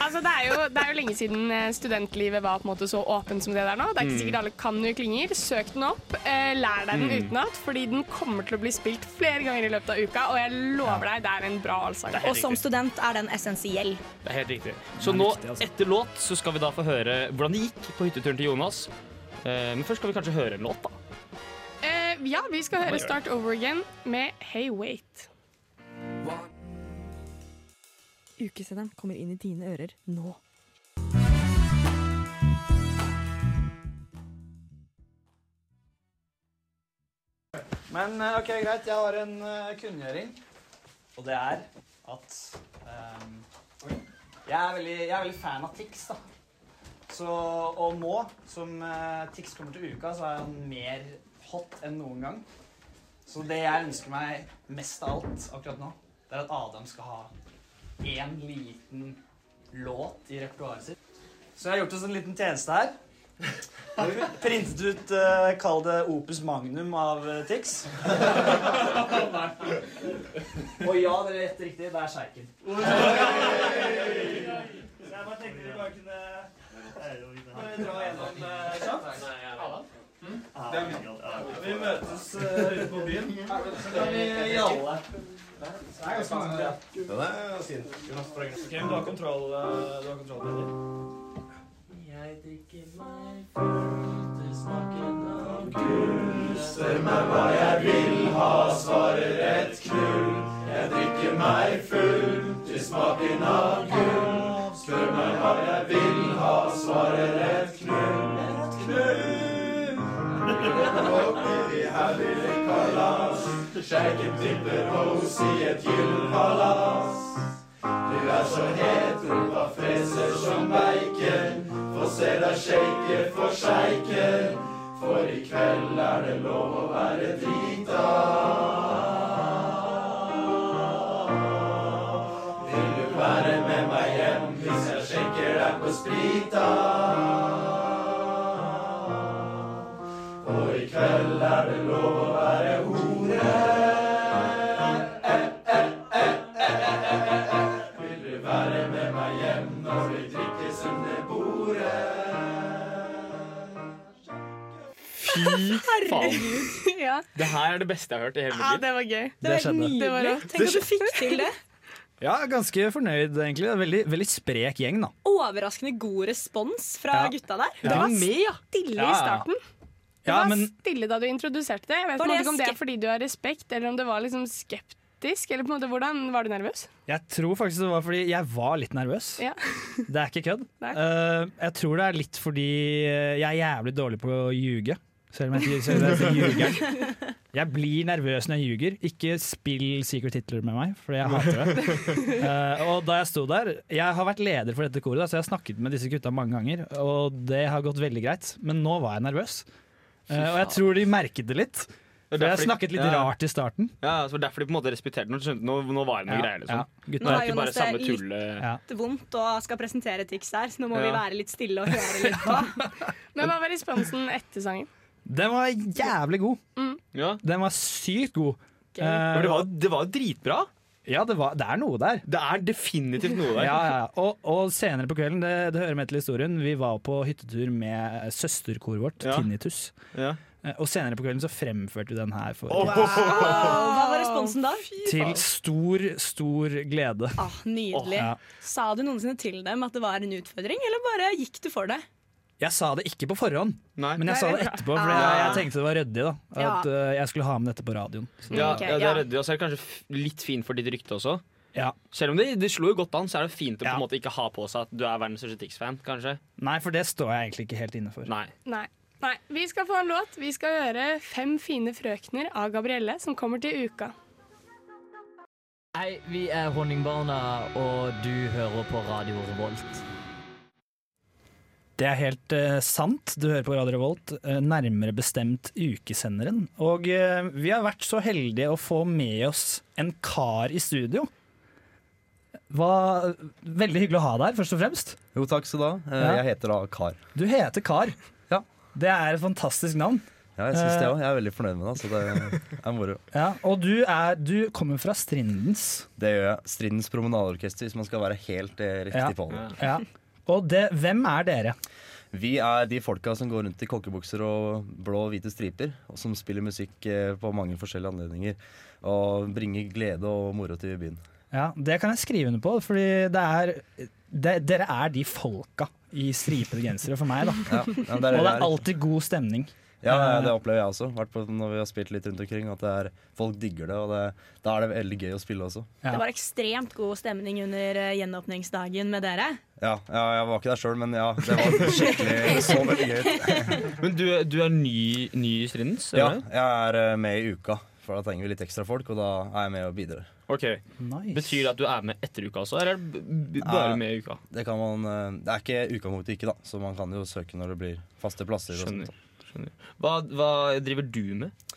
Speaker 4: Altså, det, er jo, det er jo lenge siden eh, studentlivet var på en måte så åpent som det der nå. Det er ikke
Speaker 6: Mm.
Speaker 4: sikkert alle kan jo klinger. Søk den opp, eh, lær deg den
Speaker 6: Mm.
Speaker 4: utenat, fordi den kommer til å bli spilt flere ganger i løpet av uka, og jeg lover deg, det er en bra allsang.
Speaker 6: Det er helt
Speaker 5: Og som student er den essensiell.
Speaker 6: Det er helt riktig. altså. Så nå, etter låt, så skal vi da få høre hvordan det gikk på hytteturen til Jonas. Eh, men først skal vi kanskje høre en låt, da.
Speaker 4: Eh, ja, vi skal
Speaker 6: Ja,
Speaker 4: høre
Speaker 6: gjør det.
Speaker 4: Start Over Again med Hey Wait.
Speaker 19: Ukesenderen kommer inn i dine ører nå.
Speaker 7: Men eh, ok, greit. Jeg har en eh, kunngjøring. Og det er at ehm, jeg, er veldig, jeg er veldig fan av Tix, da. Så, og nå som eh, Tix kommer til uka, så er han mer hot enn noen gang. Så det jeg ønsker meg mest av alt akkurat nå, det er at Adam skal ha én liten låt i repertoaret sitt. Så jeg har gjort oss en liten tjeneste her. Vi har Printet ut eh, Kall det Opus Magnum av eh, Tix. Og ja, dere gjetter riktig. Det er Sjeiken. Så jeg bare tenkte vi bare kunne bare dra gjennom eh, kjapt. Vi møtes eh, ute på byen. Så kan vi jalle. Det er ganske mange. ja.
Speaker 20: Den er fin. Ok,
Speaker 7: men du har kontroll, eh, du har kontroll på det.
Speaker 20: Jeg drikker meg full til smaken av gull. Spør meg hva jeg vil ha, svarer et knull. Jeg drikker meg full til smaken av gull. Spør meg hva jeg vil ha, svarer et knull. Et knull. Oppi de her lille kalas. Sjeiken tipper hos i et gyllpalass. Du er så het, rumpa freser som bacon. Få se deg shake for sjeiken, for i kveld er det lov å være drita. Vil du være med meg hjem hvis jeg shaker deg på sprita? Og i kveld er det lov å være hore. Vil du være med meg hjem når vi drikkes under bordet?
Speaker 6: Fy faen.
Speaker 4: ja.
Speaker 6: Det her er det beste jeg har hørt i hele
Speaker 4: ja,
Speaker 6: mitt liv.
Speaker 4: det var
Speaker 7: Det
Speaker 4: gøy.
Speaker 7: var helt skjedde. nydelig.
Speaker 4: Det var rått.
Speaker 5: Tenk at du fikk til det.
Speaker 7: Ja, ganske fornøyd, egentlig. Det er Veldig, veldig sprek gjeng, da.
Speaker 5: Overraskende god respons fra
Speaker 7: Ja.
Speaker 5: gutta der.
Speaker 7: Ja. De er med, ja.
Speaker 5: stille
Speaker 7: Ja,
Speaker 5: i
Speaker 7: ja.
Speaker 5: starten.
Speaker 4: Det
Speaker 7: Ja,
Speaker 4: var
Speaker 7: men-
Speaker 4: stille da du introduserte det. Jeg vet
Speaker 5: Var
Speaker 4: på en måte
Speaker 5: det
Speaker 4: ikke om det er
Speaker 5: skep-
Speaker 4: fordi du har respekt, eller om det var liksom skeptisk. Eller på en måte, hvordan Var du nervøs?
Speaker 7: Jeg tror faktisk det var fordi jeg var litt nervøs.
Speaker 4: Ja.
Speaker 7: Det er ikke kødd.
Speaker 4: Nei.
Speaker 7: Eh, jeg tror det er litt fordi eh, jeg er jævlig dårlig på å ljuge. Selv om jeg ikke selv om jeg ikke ljuger. Jeg blir nervøs når jeg ljuger. Ikke spill Secret Hitler med meg, for jeg hater det. Eh, og da jeg sto der Jeg har vært leder for dette koret, da, så jeg har snakket med disse gutta mange ganger. Og det har gått veldig greit, men nå var jeg nervøs. Eh, og jeg tror de merket det litt.
Speaker 6: Det er
Speaker 7: For jeg
Speaker 6: derfor de-
Speaker 7: snakket litt
Speaker 6: ja.
Speaker 7: rart i starten.
Speaker 6: Ja, så det var derfor de på en måte respekterte den. og skjønte Nå, nå var det noe
Speaker 7: Ja,
Speaker 6: greier, liksom.
Speaker 7: ja.
Speaker 6: Det
Speaker 5: Nå
Speaker 6: er
Speaker 5: har
Speaker 6: ikke bare
Speaker 5: Jonas
Speaker 6: samme
Speaker 5: det litt-
Speaker 6: tulle...
Speaker 5: Det er vondt og skal presentere tics der, så nå må vi
Speaker 6: Ja.
Speaker 5: være litt stille og høre litt.
Speaker 4: Men hva var responsen etter sangen?
Speaker 7: Den var jævlig god.
Speaker 4: Mm.
Speaker 7: Den var sykt god. Eh,
Speaker 6: Men det var- det var jo dritbra.
Speaker 7: Ja, det, var, det er noe der.
Speaker 6: Det er definitivt noe der.
Speaker 7: Ja, ja. ja. Og, og senere på kvelden, det, det hører med til historien, vi var på hyttetur med eh, søsterkoret vårt,
Speaker 6: Ja.
Speaker 7: Tinnitus.
Speaker 6: Ja.
Speaker 7: Eh, Og senere på kvelden så fremførte vi den her for
Speaker 5: Wow. Hva var responsen da?
Speaker 7: Til stor, stor glede.
Speaker 5: Ah, nydelig.
Speaker 7: Åh, ja.
Speaker 5: Sa du noensinne til dem at det var en utfordring, eller bare gikk du for det?
Speaker 7: Jeg sa det ikke på forhånd, men jeg
Speaker 5: Nei,
Speaker 7: sa det
Speaker 5: det er bra.
Speaker 7: etterpå, for jeg, jeg tenkte det var ryddig. da At
Speaker 5: Ja.
Speaker 7: eh, jeg skulle ha med dette på radioen. Så-
Speaker 6: Ja, ja, det er ryddig, og så er det kanskje f- litt fint for ditt rykte også.
Speaker 7: Ja.
Speaker 6: Selv om det, det slo jo godt an, så er det fint å på en måte ikke ha på seg at du er verdens største Tix-fan, kanskje.
Speaker 7: Nei, for det står jeg egentlig ikke helt inne for.
Speaker 6: Nei.
Speaker 4: Nei. Nei. Vi skal få en låt. Vi skal høre 'Fem fine frøkner' av Gabrielle, som kommer til uka.
Speaker 21: Hei, vi er Honningbarna, og du hører på Radio Revolt.
Speaker 7: Det er helt eh, sant. Du hører på Radio Revolt, eh, nærmere bestemt ukesenderen. Og eh, vi har vært så heldige å få med oss en kar i studio. Hva, veldig hyggelig å ha deg her, først og fremst.
Speaker 22: Jo, takk skal du ha. Eh,
Speaker 7: Ja.
Speaker 22: Jeg heter da Kar.
Speaker 7: Du heter Kar. Det er et fantastisk navn.
Speaker 22: Ja, jeg syns det
Speaker 7: Eh,
Speaker 22: òg. Jeg er veldig fornøyd med det. Så det er moro.
Speaker 7: Ja, og du, er, du kommer fra Strindens.
Speaker 22: Det gjør jeg. Strindens promenadeorkester, hvis man skal være helt eh, riktig
Speaker 7: Ja.
Speaker 22: på det.
Speaker 7: Ja. Og det, hvem er dere?
Speaker 22: Vi er de folka som går rundt i kokkebukser og blå og hvite striper, og som spiller musikk eh, på mange forskjellige anledninger. Og bringer glede og moro til byen.
Speaker 7: Ja, det kan jeg skrive under på, fordi det er det, dere er de folka i stripete gensere for meg, da.
Speaker 22: Ja, ja, det er det
Speaker 7: og det
Speaker 22: vi
Speaker 7: er
Speaker 22: er.
Speaker 7: alltid god stemning.
Speaker 22: Ja, ja, det opplever jeg også. Hvert på når vi har spilt litt rundt omkring, at det er, folk digger det. Og det, da er det veldig gøy å spille også.
Speaker 5: Det var ekstremt god stemning under eh, gjenåpningsdagen med dere.
Speaker 22: Ja, ja, jeg var ikke der sjøl, men ja, det var skikkelig så veldig gøy.
Speaker 6: Men du, du er ny, ny i Strindens?
Speaker 22: Ja, jeg er eh, med i uka, for da trenger vi litt ekstra folk, og da er jeg med og bidrar.
Speaker 6: Ok. Betyr det at du er med etter uka også, eller er det b- b- bare
Speaker 22: Nei,
Speaker 6: med i uka?
Speaker 22: Det, kan man, eh, det er ikke uka mot uke, da, så man kan jo søke når det blir faste plasser.
Speaker 6: Skjønner,
Speaker 22: Og
Speaker 6: sånt, da. Hva, hva driver du med?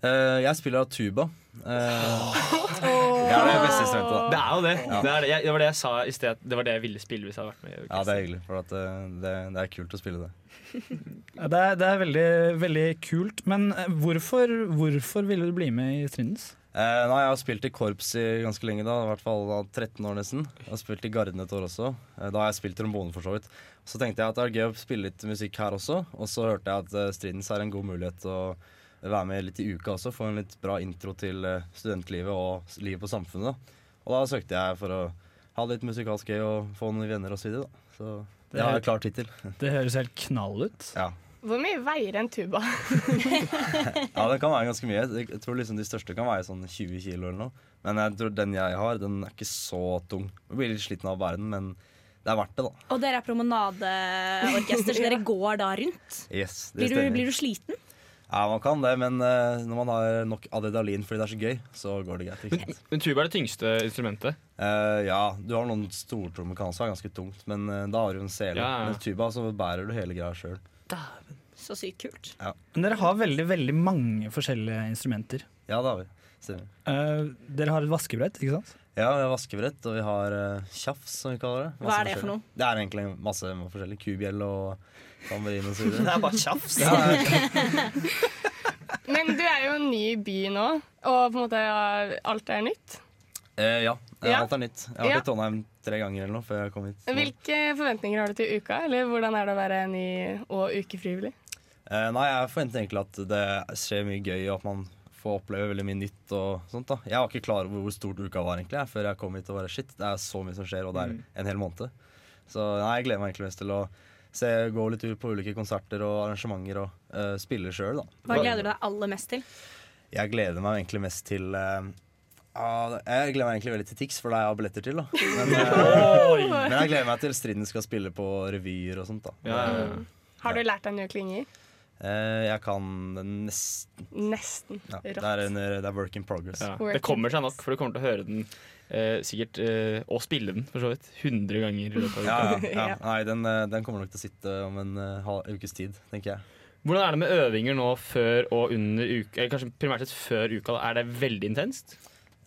Speaker 22: Eh, jeg spiller tuba. Jeg er det beste instrumentet, da.
Speaker 6: Det er jo det.
Speaker 22: Ja.
Speaker 6: Det, er det. Jeg, det var det jeg sa i sted. at Det var det jeg ville spille hvis jeg hadde vært med. i
Speaker 22: Ja, det
Speaker 6: orkester.
Speaker 22: er hyggelig, for at, eh, det, det er kult å spille det.
Speaker 7: Ja, Det er, det er veldig, veldig kult. Men eh, hvorfor, hvorfor ville du bli med i Strindens?
Speaker 22: Eh, nei, Jeg har spilt i korps i ganske lenge, da, i hvert fall da 13 år nesten. Jeg har spilt i Garden et år også. Eh, Da har jeg spilt trombone, for så vidt. Så tenkte jeg at det er gøy å spille litt musikk her også, og så hørte jeg at eh, Strindens er en god mulighet til å være med litt i uka også, få en litt bra intro til eh, studentlivet og s- livet på samfunnet. da. Og da søkte jeg for å ha det litt musikalsk gøy og få noen venner og så videre. da. Så det har jeg klart hittil.
Speaker 7: Det høres helt knall ut.
Speaker 22: Ja.
Speaker 4: Hvor mye veier en tuba?
Speaker 22: Ja, den kan veie ganske mye. Jeg tror liksom De største kan veie sånn 20 kilo eller noe. Men jeg tror den jeg har, den er ikke så tung. Jeg blir litt sliten av å bære den, men det er verdt det, da.
Speaker 5: Og dere er promenadeorkester, så dere går da rundt.
Speaker 22: Yes, det
Speaker 5: Blir du,
Speaker 22: stemmer.
Speaker 5: blir du sliten?
Speaker 22: Ja, man kan det, men eh, når man har nok adrenalin fordi det er så gøy, så går det greit. ikke sant?
Speaker 6: Men tuba er det tyngste instrumentet.
Speaker 22: Eh, ja, du har noen stortrommer kan også være ganske tungt, men eh, da har du en sele.
Speaker 6: Ja, ja.
Speaker 22: Men tuba så bærer du hele greia sjøl.
Speaker 5: Så sykt kult.
Speaker 22: Ja.
Speaker 7: Men dere har veldig, veldig mange forskjellige instrumenter.
Speaker 22: ja, det har vi. Stemmer.
Speaker 7: Eh, dere har et vaskebrett, ikke sant?
Speaker 22: Ja, vi har vaskebrett, og vi har eh, tjafs, som vi kaller det.
Speaker 7: Hva
Speaker 22: Masse
Speaker 7: er det for
Speaker 22: forskjellig.
Speaker 7: noe?
Speaker 22: Det er egentlig masse forskjellig. Kubjell og tamburin og så videre.
Speaker 6: Det er bare tjafs.
Speaker 22: Ja, ja.
Speaker 4: Men du er jo ny i byen nå, og på en måte ja, alt er nytt.
Speaker 22: Eh, ja. Eh,
Speaker 4: Ja.
Speaker 22: alt er nytt. Jeg har vært
Speaker 4: Ja.
Speaker 22: i Trondheim tre ganger eller noe før jeg kom hit. Så-
Speaker 4: Hvilke forventninger har du til uka, eller hvordan er det å være ny og ukefrivillig?
Speaker 22: Eh, nei, jeg forventer egentlig at det skjer mye gøy, og at man får oppleve veldig mye nytt og sånt. da Jeg var ikke klar over hvor stort uka var egentlig jeg, før jeg kom hit og bare shit, det er så mye som skjer, og det er
Speaker 6: Mm.
Speaker 22: en hel måned. Så nei, jeg gleder meg egentlig mest til å se, gå litt tur på ulike konserter og arrangementer og eh, spille sjøl, da.
Speaker 5: Hva gleder du deg aller mest til?
Speaker 22: Jeg gleder meg egentlig mest til eh, ah, Jeg gleder meg egentlig veldig til Tix, for det har jeg billetter til. da Men, eh,
Speaker 4: Oi!
Speaker 22: men jeg gleder meg til Striden skal spille på revyer og sånt. da
Speaker 4: Ja, ja, ja. Har du lært deg nye klinger?
Speaker 22: Eh, Jeg kan nesten
Speaker 4: Nesten.
Speaker 22: ja, det,
Speaker 4: Rått.
Speaker 22: er en, eh, det er work in progress.
Speaker 6: Ja. Det kommer seg nok, for du kommer til å høre den eh, sikkert, eh, og spille den for så vidt, 100 ganger. i løpet av
Speaker 22: Ja, ja,
Speaker 6: uka.
Speaker 22: ja. Nei, den, eh, den kommer nok til å sitte om en eh, halv- ukes tid, tenker jeg.
Speaker 6: Hvordan er det med øvinger nå før og under uka? Eller kanskje primært sett før uka. da? Er det veldig intenst?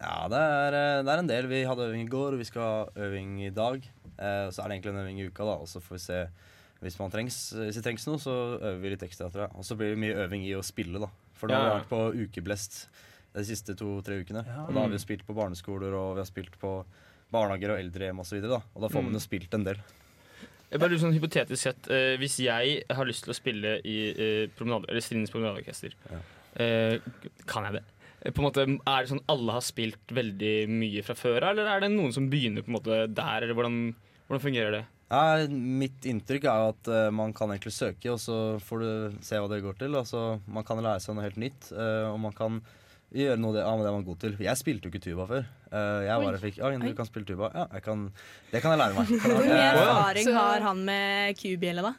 Speaker 22: Ja, det er, eh, det er en del. Vi hadde øving i går, og vi skal ha øving i dag. Eh, og så er det egentlig en øving i uka, da, og så får vi se. Hvis, man trengs, hvis det trengs noe, så øver vi litt ekstra. tror jeg. Og så blir det mye øving i å spille, da. For nå har vi
Speaker 6: Ja, ja.
Speaker 22: vært på ukeblest de siste to-tre ukene. Og da har vi jo spilt på barneskoler og vi har spilt på barnehager og eldrehjem osv. Og, så videre, da. og da får
Speaker 6: Mm.
Speaker 22: man jo spilt en del.
Speaker 6: Jeg bare lurer sånn hypotetisk sett eh, Hvis jeg har lyst til å spille i eh, promenade, eller Strindens promenadeorkester, eh, kan jeg det? Eh, På en måte, er det sånn alle har spilt veldig mye fra før, eller er det noen som begynner på en måte der, eller hvordan, hvordan fungerer det?
Speaker 22: Ja, mitt inntrykk er jo at eh, man kan egentlig søke, og så får du se hva det går til. Altså, man kan lære seg noe helt nytt, eh, og man kan gjøre noe av det, av det man er god til. Jeg spilte jo ikke tuba før. Eh, jeg
Speaker 5: Oi.
Speaker 22: bare fikk Ja, Ine,
Speaker 5: Oi.
Speaker 22: du kan spille tuba. Ja, jeg kan Det kan jeg lære meg.
Speaker 5: Hvor mye
Speaker 22: Eh,
Speaker 5: erfaring har han med kubjelle, da?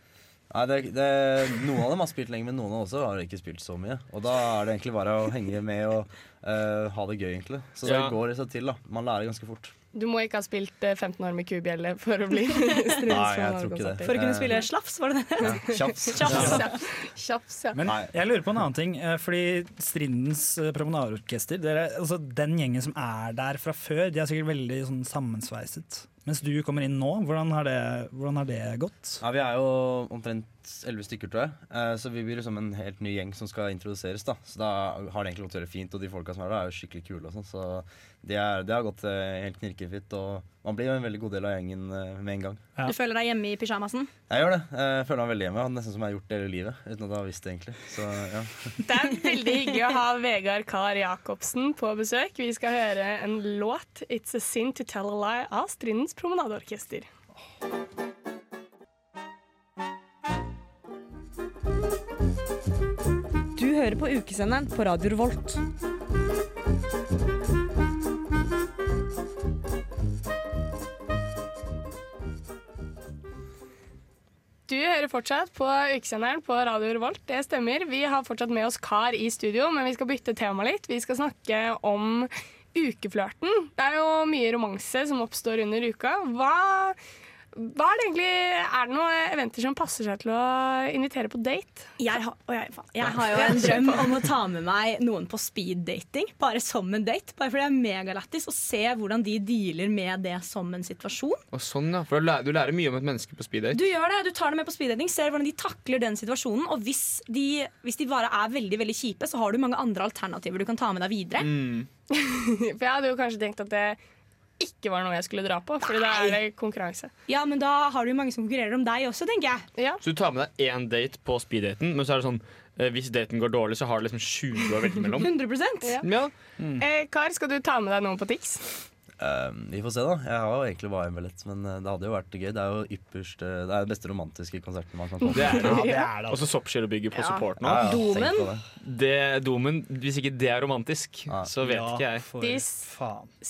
Speaker 22: Nei, det, det, Noen av dem har spilt lenge, men noen av dem også har ikke spilt så mye. Og da er det egentlig bare å henge med og eh, ha det gøy, egentlig. Så det
Speaker 6: Ja.
Speaker 22: går i seg til, da. Man lærer ganske fort.
Speaker 4: Du må ikke ha spilt eh, 15 år med kubjelle for å bli
Speaker 22: Nei, jeg tror ikke det. Eh, For å kunne spille
Speaker 5: slafs, var det det?
Speaker 22: Kjapt.
Speaker 4: Kjaps, ja. Kjaps, ja.
Speaker 7: Men jeg lurer på en annen ting, eh, fordi Strindens eh, promenadeorkester dere, altså Den gjengen som er der fra før, de er sikkert veldig sånn, sammensveiset. Mens du kommer inn nå, hvordan har det, hvordan har det gått?
Speaker 22: Ja, Vi er jo omtrent elleve stykker, tror jeg. Eh, Så vi blir liksom en helt ny gjeng som skal introduseres. da Så da har det egentlig gått veldig fint, og de folka som er der, er jo skikkelig kule. og sånn Så det er- det har gått eh, helt knirkefritt. Og man blir jo en veldig god del av gjengen eh, med en gang.
Speaker 5: Du føler deg hjemme i pysjamasen?
Speaker 22: Jeg gjør det. Eh, Jeg føler meg veldig hjemme. Jeg har Nesten som jeg har gjort det hele livet uten at jeg har visst det, egentlig. Så ja
Speaker 4: Det er veldig hyggelig å ha Vegard Kar Jacobsen på besøk. Vi skal høre en låt, 'It's a Sin to Tell a Lie', av Strindens Promenadeorkester.
Speaker 23: Du hører på ukesenderen på Radio Revolt.
Speaker 4: Du hører fortsatt på ukesenderen på Radio Revolt. Det stemmer. Vi har fortsatt med oss Kar i studio, men vi skal bytte tema litt. Vi skal snakke om ukeflørten. Det er jo mye romanse som oppstår under uka. Hva, hva er det egentlig Er det noen eventer som passer seg til å invitere på date?
Speaker 5: Jeg har, å, jeg, faen. Jeg har jo en drøm om å ta med meg noen på speeddating, bare som en date. Bare fordi det er megalættis å se hvordan de dealer med det som en situasjon.
Speaker 6: Og sånn, ja. For du lærer, du lærer mye om et menneske på speed
Speaker 5: Du
Speaker 6: date.
Speaker 5: gjør det, du tar det med på speeddating, ser hvordan de takler den situasjonen. Og hvis de, hvis de bare er veldig veldig kjipe, så har du mange andre alternativer du kan ta med deg videre.
Speaker 7: Mm.
Speaker 6: Mm.
Speaker 4: For jeg hadde jo kanskje tenkt at det ikke var noe jeg skulle dra på, fordi da er det konkurranse.
Speaker 5: Ja, men da har du jo mange som konkurrerer om deg også, tenker jeg.
Speaker 6: Så du tar med deg én date på speed-daten, men så er det sånn eh, hvis daten går dårlig, så har du liksom 20 å velge mellom.
Speaker 5: 100
Speaker 4: Ja.
Speaker 6: Ja.
Speaker 4: Eh, Kar, skal du ta med deg noen på Tix?
Speaker 22: Eh, vi får se, da. Jeg har jo egentlig bare en billett, men eh, det hadde jo vært gøy. Det er jo ypperst eh, Det er den beste romantiske konserten man kan komme
Speaker 6: Det er det. altså.
Speaker 22: på.
Speaker 6: Og så Soppskjellbygget på
Speaker 22: Ja.
Speaker 6: support nå.
Speaker 22: Ja, ja, tenk Domen. på
Speaker 6: Det, domen. Hvis ikke det er romantisk, så vet ikke jeg.
Speaker 4: De s-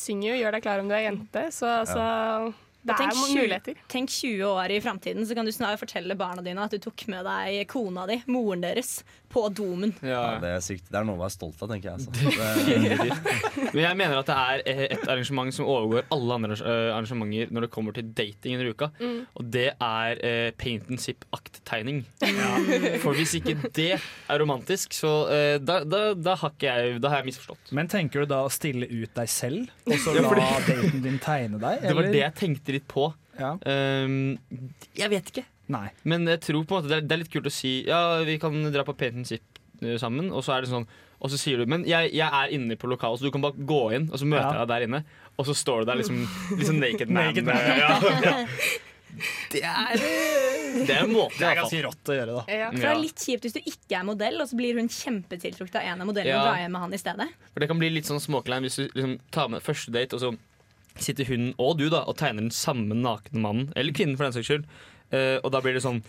Speaker 4: synger jo 'Gjør deg klar om du er jente', så altså Det
Speaker 5: Og
Speaker 4: er
Speaker 5: tenk
Speaker 4: mange
Speaker 5: 20
Speaker 4: muligheter.
Speaker 5: Tenk 20 år i framtiden, så kan du snart fortelle barna dine at du tok med deg kona di, moren deres, på domen.
Speaker 22: Ja, det er sykt. Det er noe å være stolt av, tenker jeg. Altså. Det,
Speaker 6: Men jeg mener at det er et arrangement som overgår alle andre eh, arrangementer når det kommer til dating under uka,
Speaker 22: Mm.
Speaker 6: og det er eh, paint and zip-akttegning. For hvis ikke det er romantisk, så eh, da, da, da, har ikke jeg, da har jeg misforstått.
Speaker 7: Men tenker du da å stille ut deg selv, og så
Speaker 6: Ja,
Speaker 7: la
Speaker 6: fordi-
Speaker 7: daten din tegne deg?
Speaker 6: Det var
Speaker 7: eller?
Speaker 6: det jeg tenkte litt på. Um, jeg vet ikke.
Speaker 7: Nei.
Speaker 6: Men jeg tror på en måte det er, det er litt kult å si Ja, vi kan dra på paint and zip eh, sammen. Og så er det sånn Og så sier du Men jeg, jeg er inne på lokalet, så du kan bare gå inn, og så møter jeg deg der inne. Og så står du der liksom, liksom naked man.
Speaker 7: Naked man.
Speaker 6: eh, Ja, ja.
Speaker 5: Det er
Speaker 6: Det er en måte.
Speaker 7: eh, Det er
Speaker 6: i hvert fall.
Speaker 7: ganske rått å gjøre, da.
Speaker 5: Ja. For det er litt kjipt hvis du ikke er modell, og så blir hun kjempetiltrukket av en av modellene
Speaker 6: Ja.
Speaker 5: og drar hjem med han i stedet.
Speaker 6: For det kan bli litt sånn småklein hvis du liksom tar med første date, og så sitter hun og du da og tegner den samme nakne mannen, eller kvinnen for den saks skyld, Eh, og da blir det sånn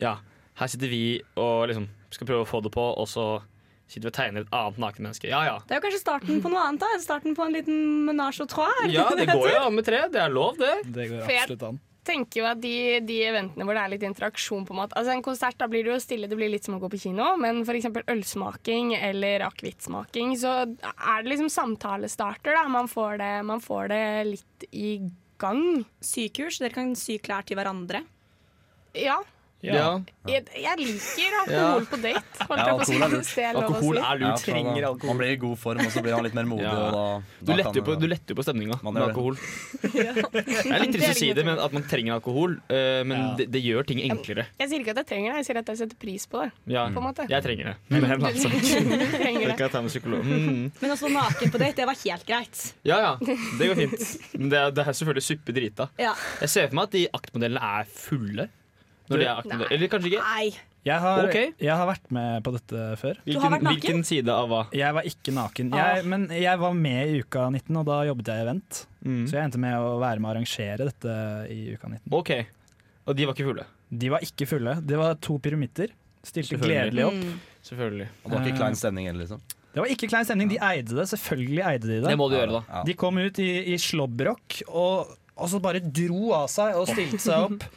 Speaker 6: Ja, her sitter vi og liksom skal prøve å få det på, og så sitter vi og tegner et annet naken menneske. Ja ja.
Speaker 5: Det er jo kanskje starten på noe annet, da. Starten på en liten menage og trois. er
Speaker 6: Ja,
Speaker 5: ikke
Speaker 6: det
Speaker 5: det
Speaker 6: går jo
Speaker 5: heter?
Speaker 6: an med tre. Det er lov, det.
Speaker 7: Det
Speaker 4: For jeg absolutt
Speaker 7: an.
Speaker 4: tenker jo at de, de eventene hvor det er litt interaksjon på en måte Altså En konsert, da blir det jo stille, det blir litt som å gå på kino, men f.eks. ølsmaking eller akevittsmaking, så er det liksom samtalestarter, da. Man får det, man får det litt i gang.
Speaker 5: Sykurs, dere kan sy klær til hverandre.
Speaker 4: Ja.
Speaker 6: Ja.
Speaker 4: Jeg, jeg liker
Speaker 6: Ja.
Speaker 4: alkohol på date. Holdt
Speaker 22: Ja,
Speaker 4: jeg på å si,
Speaker 22: alkohol er
Speaker 4: hvis det er
Speaker 22: lurt.
Speaker 4: lov å
Speaker 22: Ja,
Speaker 4: si.
Speaker 22: for da- Man blir i god form, og så blir han litt mer modig.
Speaker 6: Ja.
Speaker 22: Og da,
Speaker 6: Du
Speaker 22: da
Speaker 6: letter
Speaker 22: kan
Speaker 6: jo
Speaker 22: det-
Speaker 6: på- du letter jo på stemninga
Speaker 22: Man
Speaker 6: med
Speaker 22: gjør det.
Speaker 6: alkohol. Det er litt trist å si det, men at man trenger alkohol. eh, Men det, det gjør ting enklere.
Speaker 4: Jeg sier ikke at jeg trenger det, jeg sier at jeg setter pris på det.
Speaker 6: Ja.
Speaker 4: På en måte.
Speaker 6: Jeg trenger det. Men det er en annen sak.
Speaker 4: Du trenger
Speaker 6: Det kan jeg ta med psykolog. Mm.
Speaker 1: Men å stå naken på date, det var helt greit.
Speaker 6: Ja ja, det går fint. Men det er, det er selvfølgelig suppe drita.
Speaker 1: Ja.
Speaker 6: Jeg ser for meg at de aktmodellene er fulle. Når de er aktmodell- Eller kanskje ikke?
Speaker 1: Nei.
Speaker 7: Jeg har,
Speaker 6: Ok.
Speaker 7: jeg har vært med på dette før.
Speaker 6: Du har Hvilken- vært naken? Ah. hvilken side av hva?
Speaker 7: Jeg var ikke naken. Jeg, men jeg var med i Uka 19, og da jobbet jeg i event.
Speaker 6: Mm.
Speaker 7: Så jeg endte med å være med å arrangere dette i Uka 19.
Speaker 6: Ok, Og de var ikke fulle?
Speaker 7: De var ikke fulle. Det var to pyramitter. Stilte
Speaker 6: Selvfølgelig.
Speaker 7: gledelig opp.
Speaker 6: Mm. Selvfølgelig.
Speaker 22: Og det var ikke
Speaker 7: Eh,
Speaker 22: klein stemning heller, liksom.
Speaker 7: Det var ikke klein stemning. De eide det. Selvfølgelig eide de det.
Speaker 22: Det må de gjøre, da.
Speaker 7: De kom ut i, i slåbrok og, og så bare dro av seg og stilte seg opp.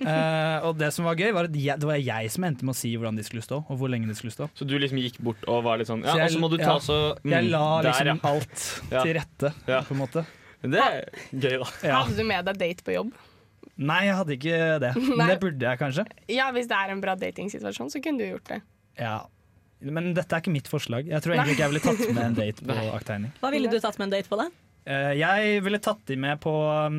Speaker 7: Eh, og det som var gøy, var at jeg, det var jeg som endte med å si hvordan de skulle stå, og hvor lenge de skulle stå.
Speaker 6: Så du liksom gikk bort og var litt sånn Ja,
Speaker 7: Så jeg-
Speaker 6: og så må du ta
Speaker 7: ja.
Speaker 6: så mm,
Speaker 7: Jeg la
Speaker 6: der,
Speaker 7: liksom
Speaker 6: ja.
Speaker 7: alt til rette, på en måte.
Speaker 6: Det er gøy, da.
Speaker 4: Hadde du med deg date på jobb?
Speaker 7: Nei, jeg hadde ikke det. Men
Speaker 4: Nei.
Speaker 7: det burde jeg kanskje.
Speaker 4: Ja, hvis det er en bra datingsituasjon, så kunne du gjort det.
Speaker 7: Ja. Men dette er ikke mitt forslag. Jeg tror egentlig ikke jeg ville tatt med en date på akttegning.
Speaker 1: Hva ville du tatt med en date på det?
Speaker 7: Eh, jeg ville tatt de med på um,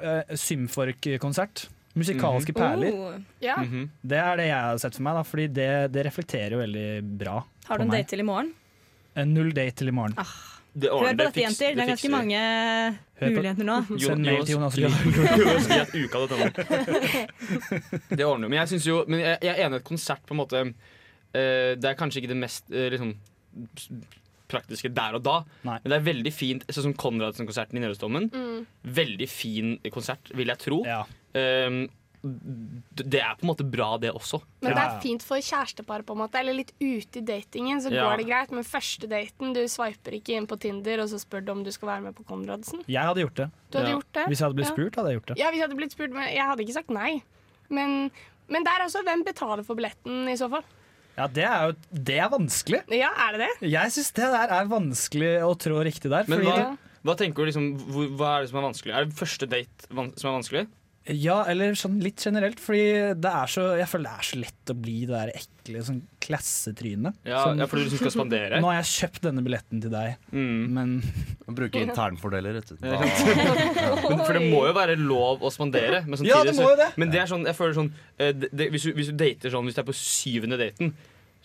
Speaker 7: eh, Symfork-konsert. Musikalske
Speaker 4: Mhm.
Speaker 7: perler.
Speaker 4: Oh,
Speaker 5: Oh.
Speaker 7: Mhm.
Speaker 1: Ja.
Speaker 6: Mhm.
Speaker 7: Det er det jeg har sett for meg, da, fordi det, det reflekterer jo veldig bra.
Speaker 1: Har
Speaker 7: på
Speaker 1: du en
Speaker 7: meg.
Speaker 1: date til i morgen?
Speaker 7: Eh, Null date til i morgen.
Speaker 4: Ah.
Speaker 1: Hør på dette, jenter. Det er ganske mange
Speaker 7: Hør på-
Speaker 1: muligheter nå.
Speaker 7: Jo- Send mail til Jonas
Speaker 6: Jo-
Speaker 7: Lie.
Speaker 6: Jonas Lie at uka hadde tenåring. Det ordner jo. Men jeg synes jo Men jeg, jeg er enig i at konsert på en måte eh, Det er kanskje ikke det mest eh, liksom, s- praktiske der og da,
Speaker 7: Nei.
Speaker 6: men det er veldig fint. Sånn som Konradsen-konserten i Nervestommen.
Speaker 20: Mm.
Speaker 6: Veldig fin konsert, vil jeg tro. Ehm, d- det er på en måte bra, det også.
Speaker 4: Men det er fint for kjærestepar, på en måte. Eller litt ute i datingen, så
Speaker 6: Ja.
Speaker 4: går det greit. Men første daten, du sveiper ikke inn på Tinder, og så spør du om du skal være med på Konradsen.
Speaker 7: Jeg hadde gjort det.
Speaker 4: Du hadde gjort det?
Speaker 7: Hvis jeg hadde blitt
Speaker 4: Ja.
Speaker 7: spurt, hadde jeg gjort det.
Speaker 4: Ja, hvis jeg hadde blitt spurt, men jeg hadde ikke sagt nei. Men, men der også, hvem betaler for billetten i så fall?
Speaker 7: Ja, det er jo det er vanskelig.
Speaker 4: Ja, er det det?
Speaker 7: Jeg syns det der er vanskelig å trå riktig der.
Speaker 6: Men
Speaker 7: fordi
Speaker 6: hva,
Speaker 7: det-
Speaker 6: hva tenker du liksom hvor, Hva er det som er vanskelig? Er det første date van som er vanskelig?
Speaker 7: Ja, eller sånn litt generelt, fordi det er så, jeg føler det er så lett å bli det der ekle sånn klassetrynet.
Speaker 6: Ja,
Speaker 7: Sånn-
Speaker 6: ja, fordi du liksom skal spandere. Mm.
Speaker 7: Nå har jeg kjøpt denne billetten til deg, men
Speaker 6: bruke
Speaker 22: internfordeler, vet du.
Speaker 6: Ja. Men, for det må jo være lov å spandere. Men, samtidig
Speaker 7: Ja, det må jo det.
Speaker 6: Så, men det er sånn, jeg føler sånn eh, det, det, hvis, du, hvis du dater sånn, hvis det er på syvende daten,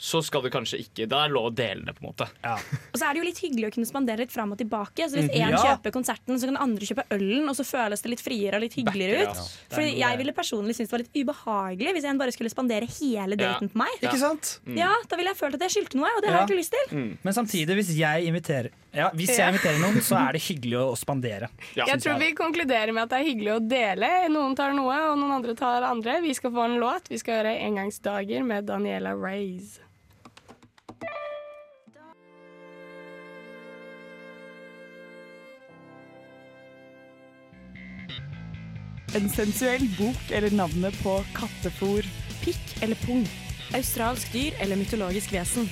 Speaker 6: så skal du kanskje ikke Da er det lov å dele det, på en måte.
Speaker 5: Og så er det jo litt hyggelig å kunne spandere litt fram og tilbake. Så hvis
Speaker 6: Mhm.
Speaker 5: én
Speaker 6: Ja.
Speaker 5: kjøper konserten, så kan den andre kjøpe ølen, og så føles det litt friere og litt hyggeligere
Speaker 6: Backer,
Speaker 5: ut.
Speaker 6: ass. Det er
Speaker 5: Fordi
Speaker 6: noe-
Speaker 5: jeg ville personlig synes det var litt ubehagelig hvis en bare skulle spandere hele
Speaker 7: Ja.
Speaker 5: daten på meg.
Speaker 7: Ikke sant? Mm.
Speaker 5: Ja, da ville jeg følt at jeg skyldte noe, og det har
Speaker 7: Ja.
Speaker 5: jeg ikke lyst til.
Speaker 6: Mm.
Speaker 7: Men samtidig, hvis jeg inviterer Ja, hvis jeg
Speaker 4: Ja.
Speaker 7: inviterer noen, så er det hyggelig å, å spandere.
Speaker 4: Jeg
Speaker 7: synes
Speaker 4: tror vi konkluderer med at det er hyggelig å dele. Noen tar noe, og noen andre tar andre. Vi skal få en låt. Vi skal gjøre Engangsdager med Daniela Reyes.
Speaker 3: En sensuell bok eller navnet på kattefôr.
Speaker 19: Pikk eller pung?
Speaker 3: Australsk dyr eller mytologisk vesen?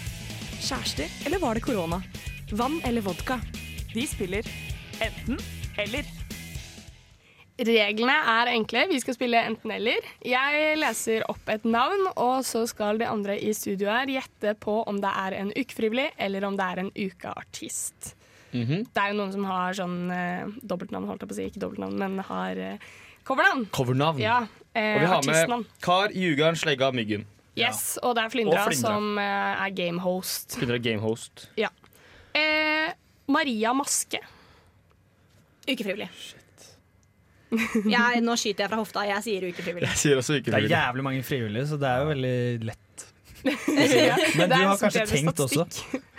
Speaker 19: Kjærester eller var det korona? Vann eller vodka?
Speaker 3: De spiller enten eller.
Speaker 4: Reglene er enkle. Vi skal spille enten-eller. Jeg leser opp et navn, og så skal de andre i studio her gjette på om det er en ukefrivillig eller om det er en ukeartist.
Speaker 6: Mhm.
Speaker 4: Det er jo noen som har sånn eh, dobbeltnavn, holdt jeg på å si. Ikke dobbeltnavn, men har eh, covernavn.
Speaker 6: Covernavn.
Speaker 4: Ja, eh,
Speaker 6: Og vi har
Speaker 4: artistnavn.
Speaker 6: med Kar, Jugarn, Slegga, Myggen.
Speaker 4: Yes, Og det er Flyndra,
Speaker 6: Og Flyndra.
Speaker 4: som eh, er gamehost.
Speaker 6: Spiller gamehost.
Speaker 4: Ja. Eh, Maria Maske.
Speaker 1: Ukefrivillig. Jeg, nå skyter jeg fra hofta. Jeg sier ukefrivillig.
Speaker 6: sier også
Speaker 7: Det er
Speaker 6: frivillig.
Speaker 7: jævlig mange frivillige, så det er jo veldig lett.
Speaker 1: Ja.
Speaker 7: Men du
Speaker 1: Det er
Speaker 7: har
Speaker 1: så
Speaker 7: kanskje
Speaker 1: bedre
Speaker 7: tenkt også.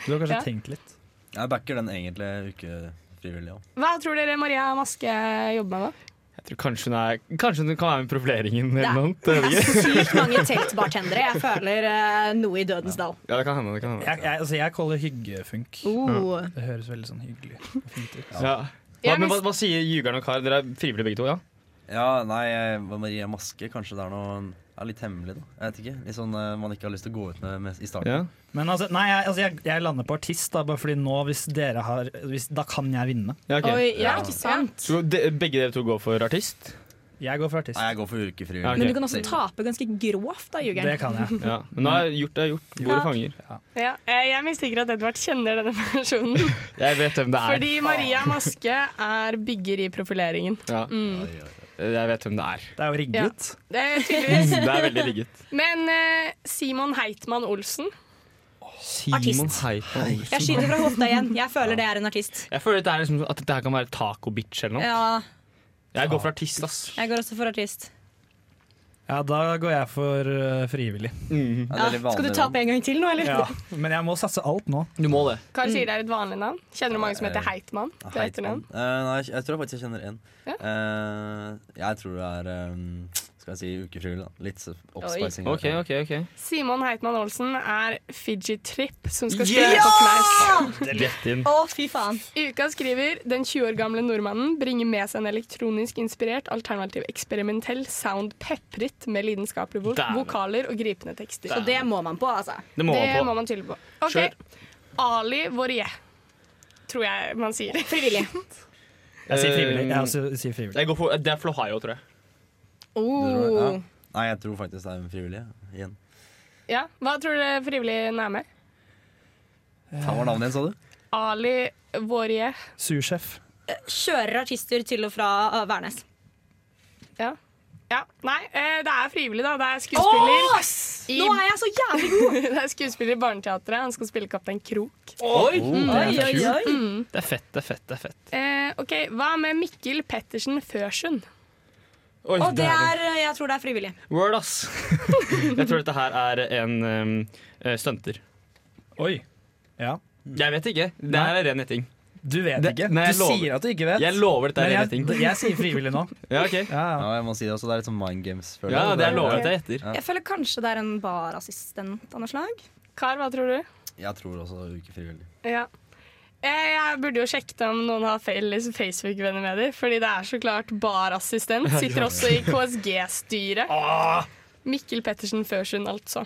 Speaker 7: Du har kanskje
Speaker 4: Ja.
Speaker 7: tenkt litt.
Speaker 22: Jeg backer den egentlig eh, ukefrivillig òg.
Speaker 4: Hva tror dere Maria Maske jobber med, da?
Speaker 6: Jeg tror kanskje hun, er, kanskje hun kan være med i profileringen eller noe. annet, jeg
Speaker 1: Det
Speaker 6: vet
Speaker 1: er
Speaker 6: ikke.
Speaker 1: sykt mange teltbartendere. Jeg føler eh, noe i dødens dal.
Speaker 6: Ja, det kan hende. Det kan hende.
Speaker 7: Jeg, jeg, altså, jeg kaller det hyggefunk.
Speaker 1: Oh.
Speaker 7: Det høres veldig sånn hyggelig og fint ut.
Speaker 6: Ja. Hva, men hva, hva sier Jugarn og Kar? Dere er frivillige begge to, ja?
Speaker 22: Ja, nei, jeg- Maria Maske, kanskje det er noe ja, litt hemmelig, da. Jeg vet ikke. Litt sånn eh, man ikke har lyst til å gå ut med, med i starten.
Speaker 7: Men altså, nei, jeg, altså, jeg, jeg lander på artist, da, bare fordi nå, hvis dere har hvis, Da kan jeg vinne.
Speaker 6: Ja, ok.
Speaker 1: Oi, ja, ikke sant.
Speaker 6: Så de, begge dere to går for artist?
Speaker 7: Jeg går for artist.
Speaker 22: Nei, jeg går for yrkefrivillig.
Speaker 1: Men du kan også tape ganske grovt, da, Jugeren.
Speaker 7: Det kan jeg.
Speaker 6: Ja, men nå er gjort det er gjort. Bordet
Speaker 4: Ja.
Speaker 6: fanger.
Speaker 4: Ja, eh, jeg mistenker at Edvard kjenner denne personen.
Speaker 6: Jeg vet hvem det er.
Speaker 4: Fordi Maria Maske er bygger i profileringen.
Speaker 6: Ja.
Speaker 4: Mm.
Speaker 6: Jeg vet hvem det er.
Speaker 7: Det er jo rigget.
Speaker 4: Det er tydeligvis.
Speaker 6: det er veldig rigget.
Speaker 4: Men eh, Simon Heitmann Olsen
Speaker 6: Simon Heitmann
Speaker 1: Jeg skyter fra hofta igjen. Jeg føler det er en artist.
Speaker 6: Jeg føler at det, er liksom, at det her kan være taco-bitch eller noe.
Speaker 1: Ja,
Speaker 6: Jeg går for artist, ass.
Speaker 1: jeg går også for artist.
Speaker 7: Ja, da går jeg for eh, frivillig.
Speaker 6: Mhm.
Speaker 1: Ja, skal du tape en gang til nå, eller?
Speaker 7: Ja, men jeg må satse alt nå.
Speaker 6: Du må det.
Speaker 4: Hva sier det er et vanlig navn? Kjenner du mange som heter
Speaker 22: Eh,
Speaker 4: Heitmann?
Speaker 22: Ah,
Speaker 4: Det er etternavn.
Speaker 22: Heitmann. Eh, nei, jeg tror faktisk jeg kjenner én. Eh, jeg tror det er eh, Skal jeg si ukefrivillig, da. Litt så- oppspicing.
Speaker 6: Ok, ok, ok
Speaker 4: Simon Heitmann Olsen er Fiji Trip, som skal
Speaker 22: Yes!
Speaker 4: spille på Knaus.
Speaker 6: Rett inn.
Speaker 1: Å, fy faen.
Speaker 4: Uka skriver den 20 år gamle nordmannen bringer med seg en elektronisk inspirert, alternativ eksperimentell sound pepret med lidenskapelige vo
Speaker 1: Dæven.
Speaker 4: vokaler og gripende tekster.
Speaker 1: Så det må man på, altså.
Speaker 6: Det må man på.
Speaker 4: tylle på. OK. Ali Vorie, tror jeg man sier.
Speaker 1: Frivillig.
Speaker 7: Jeg sier frivillig.
Speaker 6: Eh,
Speaker 7: Jeg også sier frivillig.
Speaker 6: Jeg går for, det er Flohayo, tror jeg.
Speaker 4: Oh.
Speaker 22: Nei, jeg tror faktisk det er en frivillig. Igjen.
Speaker 4: Ja, Hva tror dere frivilligen er med?
Speaker 22: Hva var navnet igjen, sa du?
Speaker 4: Ali Vorie.
Speaker 7: Sursjef.
Speaker 1: Kjører artister til og fra uh, Værnes.
Speaker 4: Ja. ja. Nei, eh, det er frivillig, da. Det er skuespiller.
Speaker 1: Åh, Nå er jeg så jævlig god!
Speaker 4: det er skuespiller i Barneteatret. Han skal spille Kaptein Krok.
Speaker 6: Oi!
Speaker 4: Mm.
Speaker 6: det, er
Speaker 4: Oi, oi,
Speaker 6: kult.
Speaker 4: oi. Mm.
Speaker 6: det er fett, det er fett. det er fett
Speaker 4: Eh, OK, hva med Mikkel Pettersen Førsund?
Speaker 6: Oi,
Speaker 1: Og det
Speaker 6: dæven.
Speaker 1: er, eh, jeg tror det er frivillig.
Speaker 6: Word, ass. jeg tror dette her er en um, eh, stunter.
Speaker 7: Oi. Ja.
Speaker 6: Jeg vet ikke. Det her er ren gjetting.
Speaker 7: Du vet
Speaker 6: Det-
Speaker 7: ikke.
Speaker 6: Nei, jeg
Speaker 7: Du
Speaker 6: lover.
Speaker 7: sier at du ikke vet.
Speaker 6: Jeg lover dette er
Speaker 7: Men
Speaker 6: ren
Speaker 7: jeg,
Speaker 6: gjetting.
Speaker 7: jeg sier frivillig nå.
Speaker 6: Ja, ok.
Speaker 22: Ja, jeg må si det også. Det er litt sånn mind games. føler
Speaker 6: Ja,
Speaker 22: jeg.
Speaker 6: det er lov at jeg gjetter.
Speaker 1: Jeg føler kanskje det er en barassistent av noe slag.
Speaker 4: Kar, hva tror du?
Speaker 22: Jeg tror også ukefrivillig.
Speaker 4: Ja. Jeg, jeg burde jo sjekket om noen har felles Facebook-venner med dem, fordi det er så klart barassistent. Sitter også i KSG-styret.
Speaker 6: Ah!
Speaker 4: Mikkel Pettersen Førsund, altså.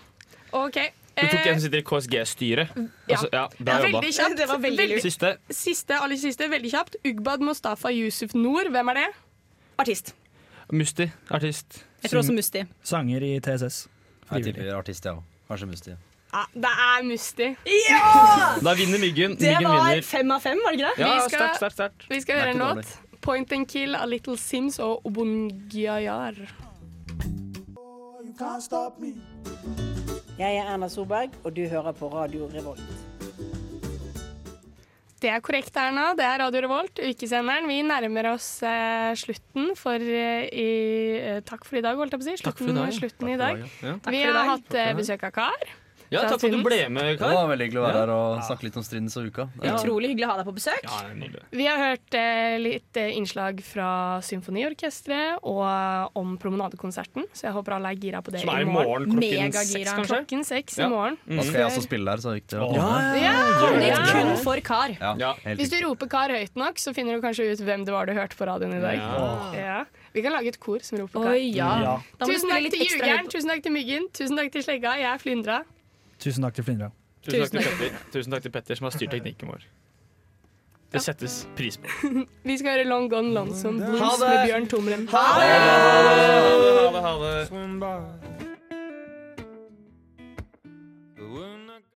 Speaker 4: OK.
Speaker 6: Du tok en
Speaker 4: eh,
Speaker 6: som sitter i KSG-styret.
Speaker 4: Ja.
Speaker 6: Altså, ja,
Speaker 4: ja,
Speaker 6: bra jobba.
Speaker 4: veldig kjapt.
Speaker 1: Det var veldig lurt.
Speaker 6: Siste.
Speaker 4: Siste, aller siste, veldig kjapt. Ugbad Mustafa Yusuf Noor, hvem er det?
Speaker 1: Artist.
Speaker 6: Musti, artist.
Speaker 1: Jeg tror også Musti.
Speaker 7: Sanger i TSS.
Speaker 22: Jeg tipper artist, jeg òg. Kanskje Musti.
Speaker 4: Ja, det er Musti.
Speaker 1: Ja!
Speaker 6: Da vinner Myggen.
Speaker 1: Det
Speaker 6: Myggen
Speaker 1: var
Speaker 6: vinner.
Speaker 1: fem av fem, var det ikke det?
Speaker 6: Ja, sterkt, sterkt, sterkt.
Speaker 4: vi skal
Speaker 6: Det er
Speaker 4: høre en
Speaker 6: ikke
Speaker 4: låt. Point and Kill av Little Sims og Obongiayar.
Speaker 2: Jeg er Erna Solberg, og du hører på Radio Revolt.
Speaker 4: Det er korrekt, Erna. Det er Radio Revolt, ukesenderen. Vi nærmer oss eh, slutten for eh, i eh, Takk for i dag, holdt jeg på å si.
Speaker 6: Takk for i dag, ja. Takk
Speaker 4: Slutten, slutten
Speaker 6: for
Speaker 4: i
Speaker 6: i dag,
Speaker 4: dag.
Speaker 6: ja. Ja. Takk
Speaker 4: Vi
Speaker 6: for i
Speaker 4: har
Speaker 6: dag.
Speaker 4: hatt eh,
Speaker 6: Takk for i dag.
Speaker 4: besøk av Kar.
Speaker 6: Ja,
Speaker 4: fra
Speaker 6: takk for at du
Speaker 4: Tynnes.
Speaker 6: ble med,
Speaker 22: Det
Speaker 6: Kar.
Speaker 22: var veldig hyggelig å være her og snakke litt om Strindens og uka.
Speaker 1: Ja. Utrolig hyggelig å ha deg på besøk.
Speaker 6: Ja, det er nydelig.
Speaker 4: Vi har hørt eh, litt eh, innslag fra Symfoniorkestret og eh, om Promenadekonserten, så jeg håper alle er gira på det
Speaker 22: Som er i
Speaker 4: i
Speaker 22: morgen klokken seks,
Speaker 4: Megagira
Speaker 22: kanskje?
Speaker 4: klokken seks
Speaker 22: Ja. Mm.
Speaker 4: i morgen.
Speaker 22: Da skal jeg også spille der, så viktig å
Speaker 4: Ja,
Speaker 22: komme.
Speaker 4: ja,
Speaker 22: gjør det.
Speaker 4: ja. kun for Kar.
Speaker 22: Ja, helt
Speaker 4: Hvis du roper Kar høyt nok, så finner du kanskje ut hvem det var du hørte på radioen i dag.
Speaker 22: Ja.
Speaker 4: Ja. Vi kan lage et kor som roper Kar.
Speaker 1: Oi, ja. Ja. Da må du spille
Speaker 4: Tusen takk
Speaker 1: litt
Speaker 4: til
Speaker 1: ekstra høyt
Speaker 4: Jugeren,
Speaker 1: på-
Speaker 4: tusen takk til Myggen, tusen takk til Slegga. Jeg er Flyndra.
Speaker 7: Tusen takk til Flindra.
Speaker 6: Tusen takk,
Speaker 4: Tusen
Speaker 6: til Petter. Tusen takk til Petter, som har styrt teknikken vår. Det settes pris på.
Speaker 4: Vi skal høre Long Gone Lonesome
Speaker 6: Ha
Speaker 4: Blues
Speaker 6: det!
Speaker 4: med Bjørn Tomren.
Speaker 6: Ha det! Ha det, ha det.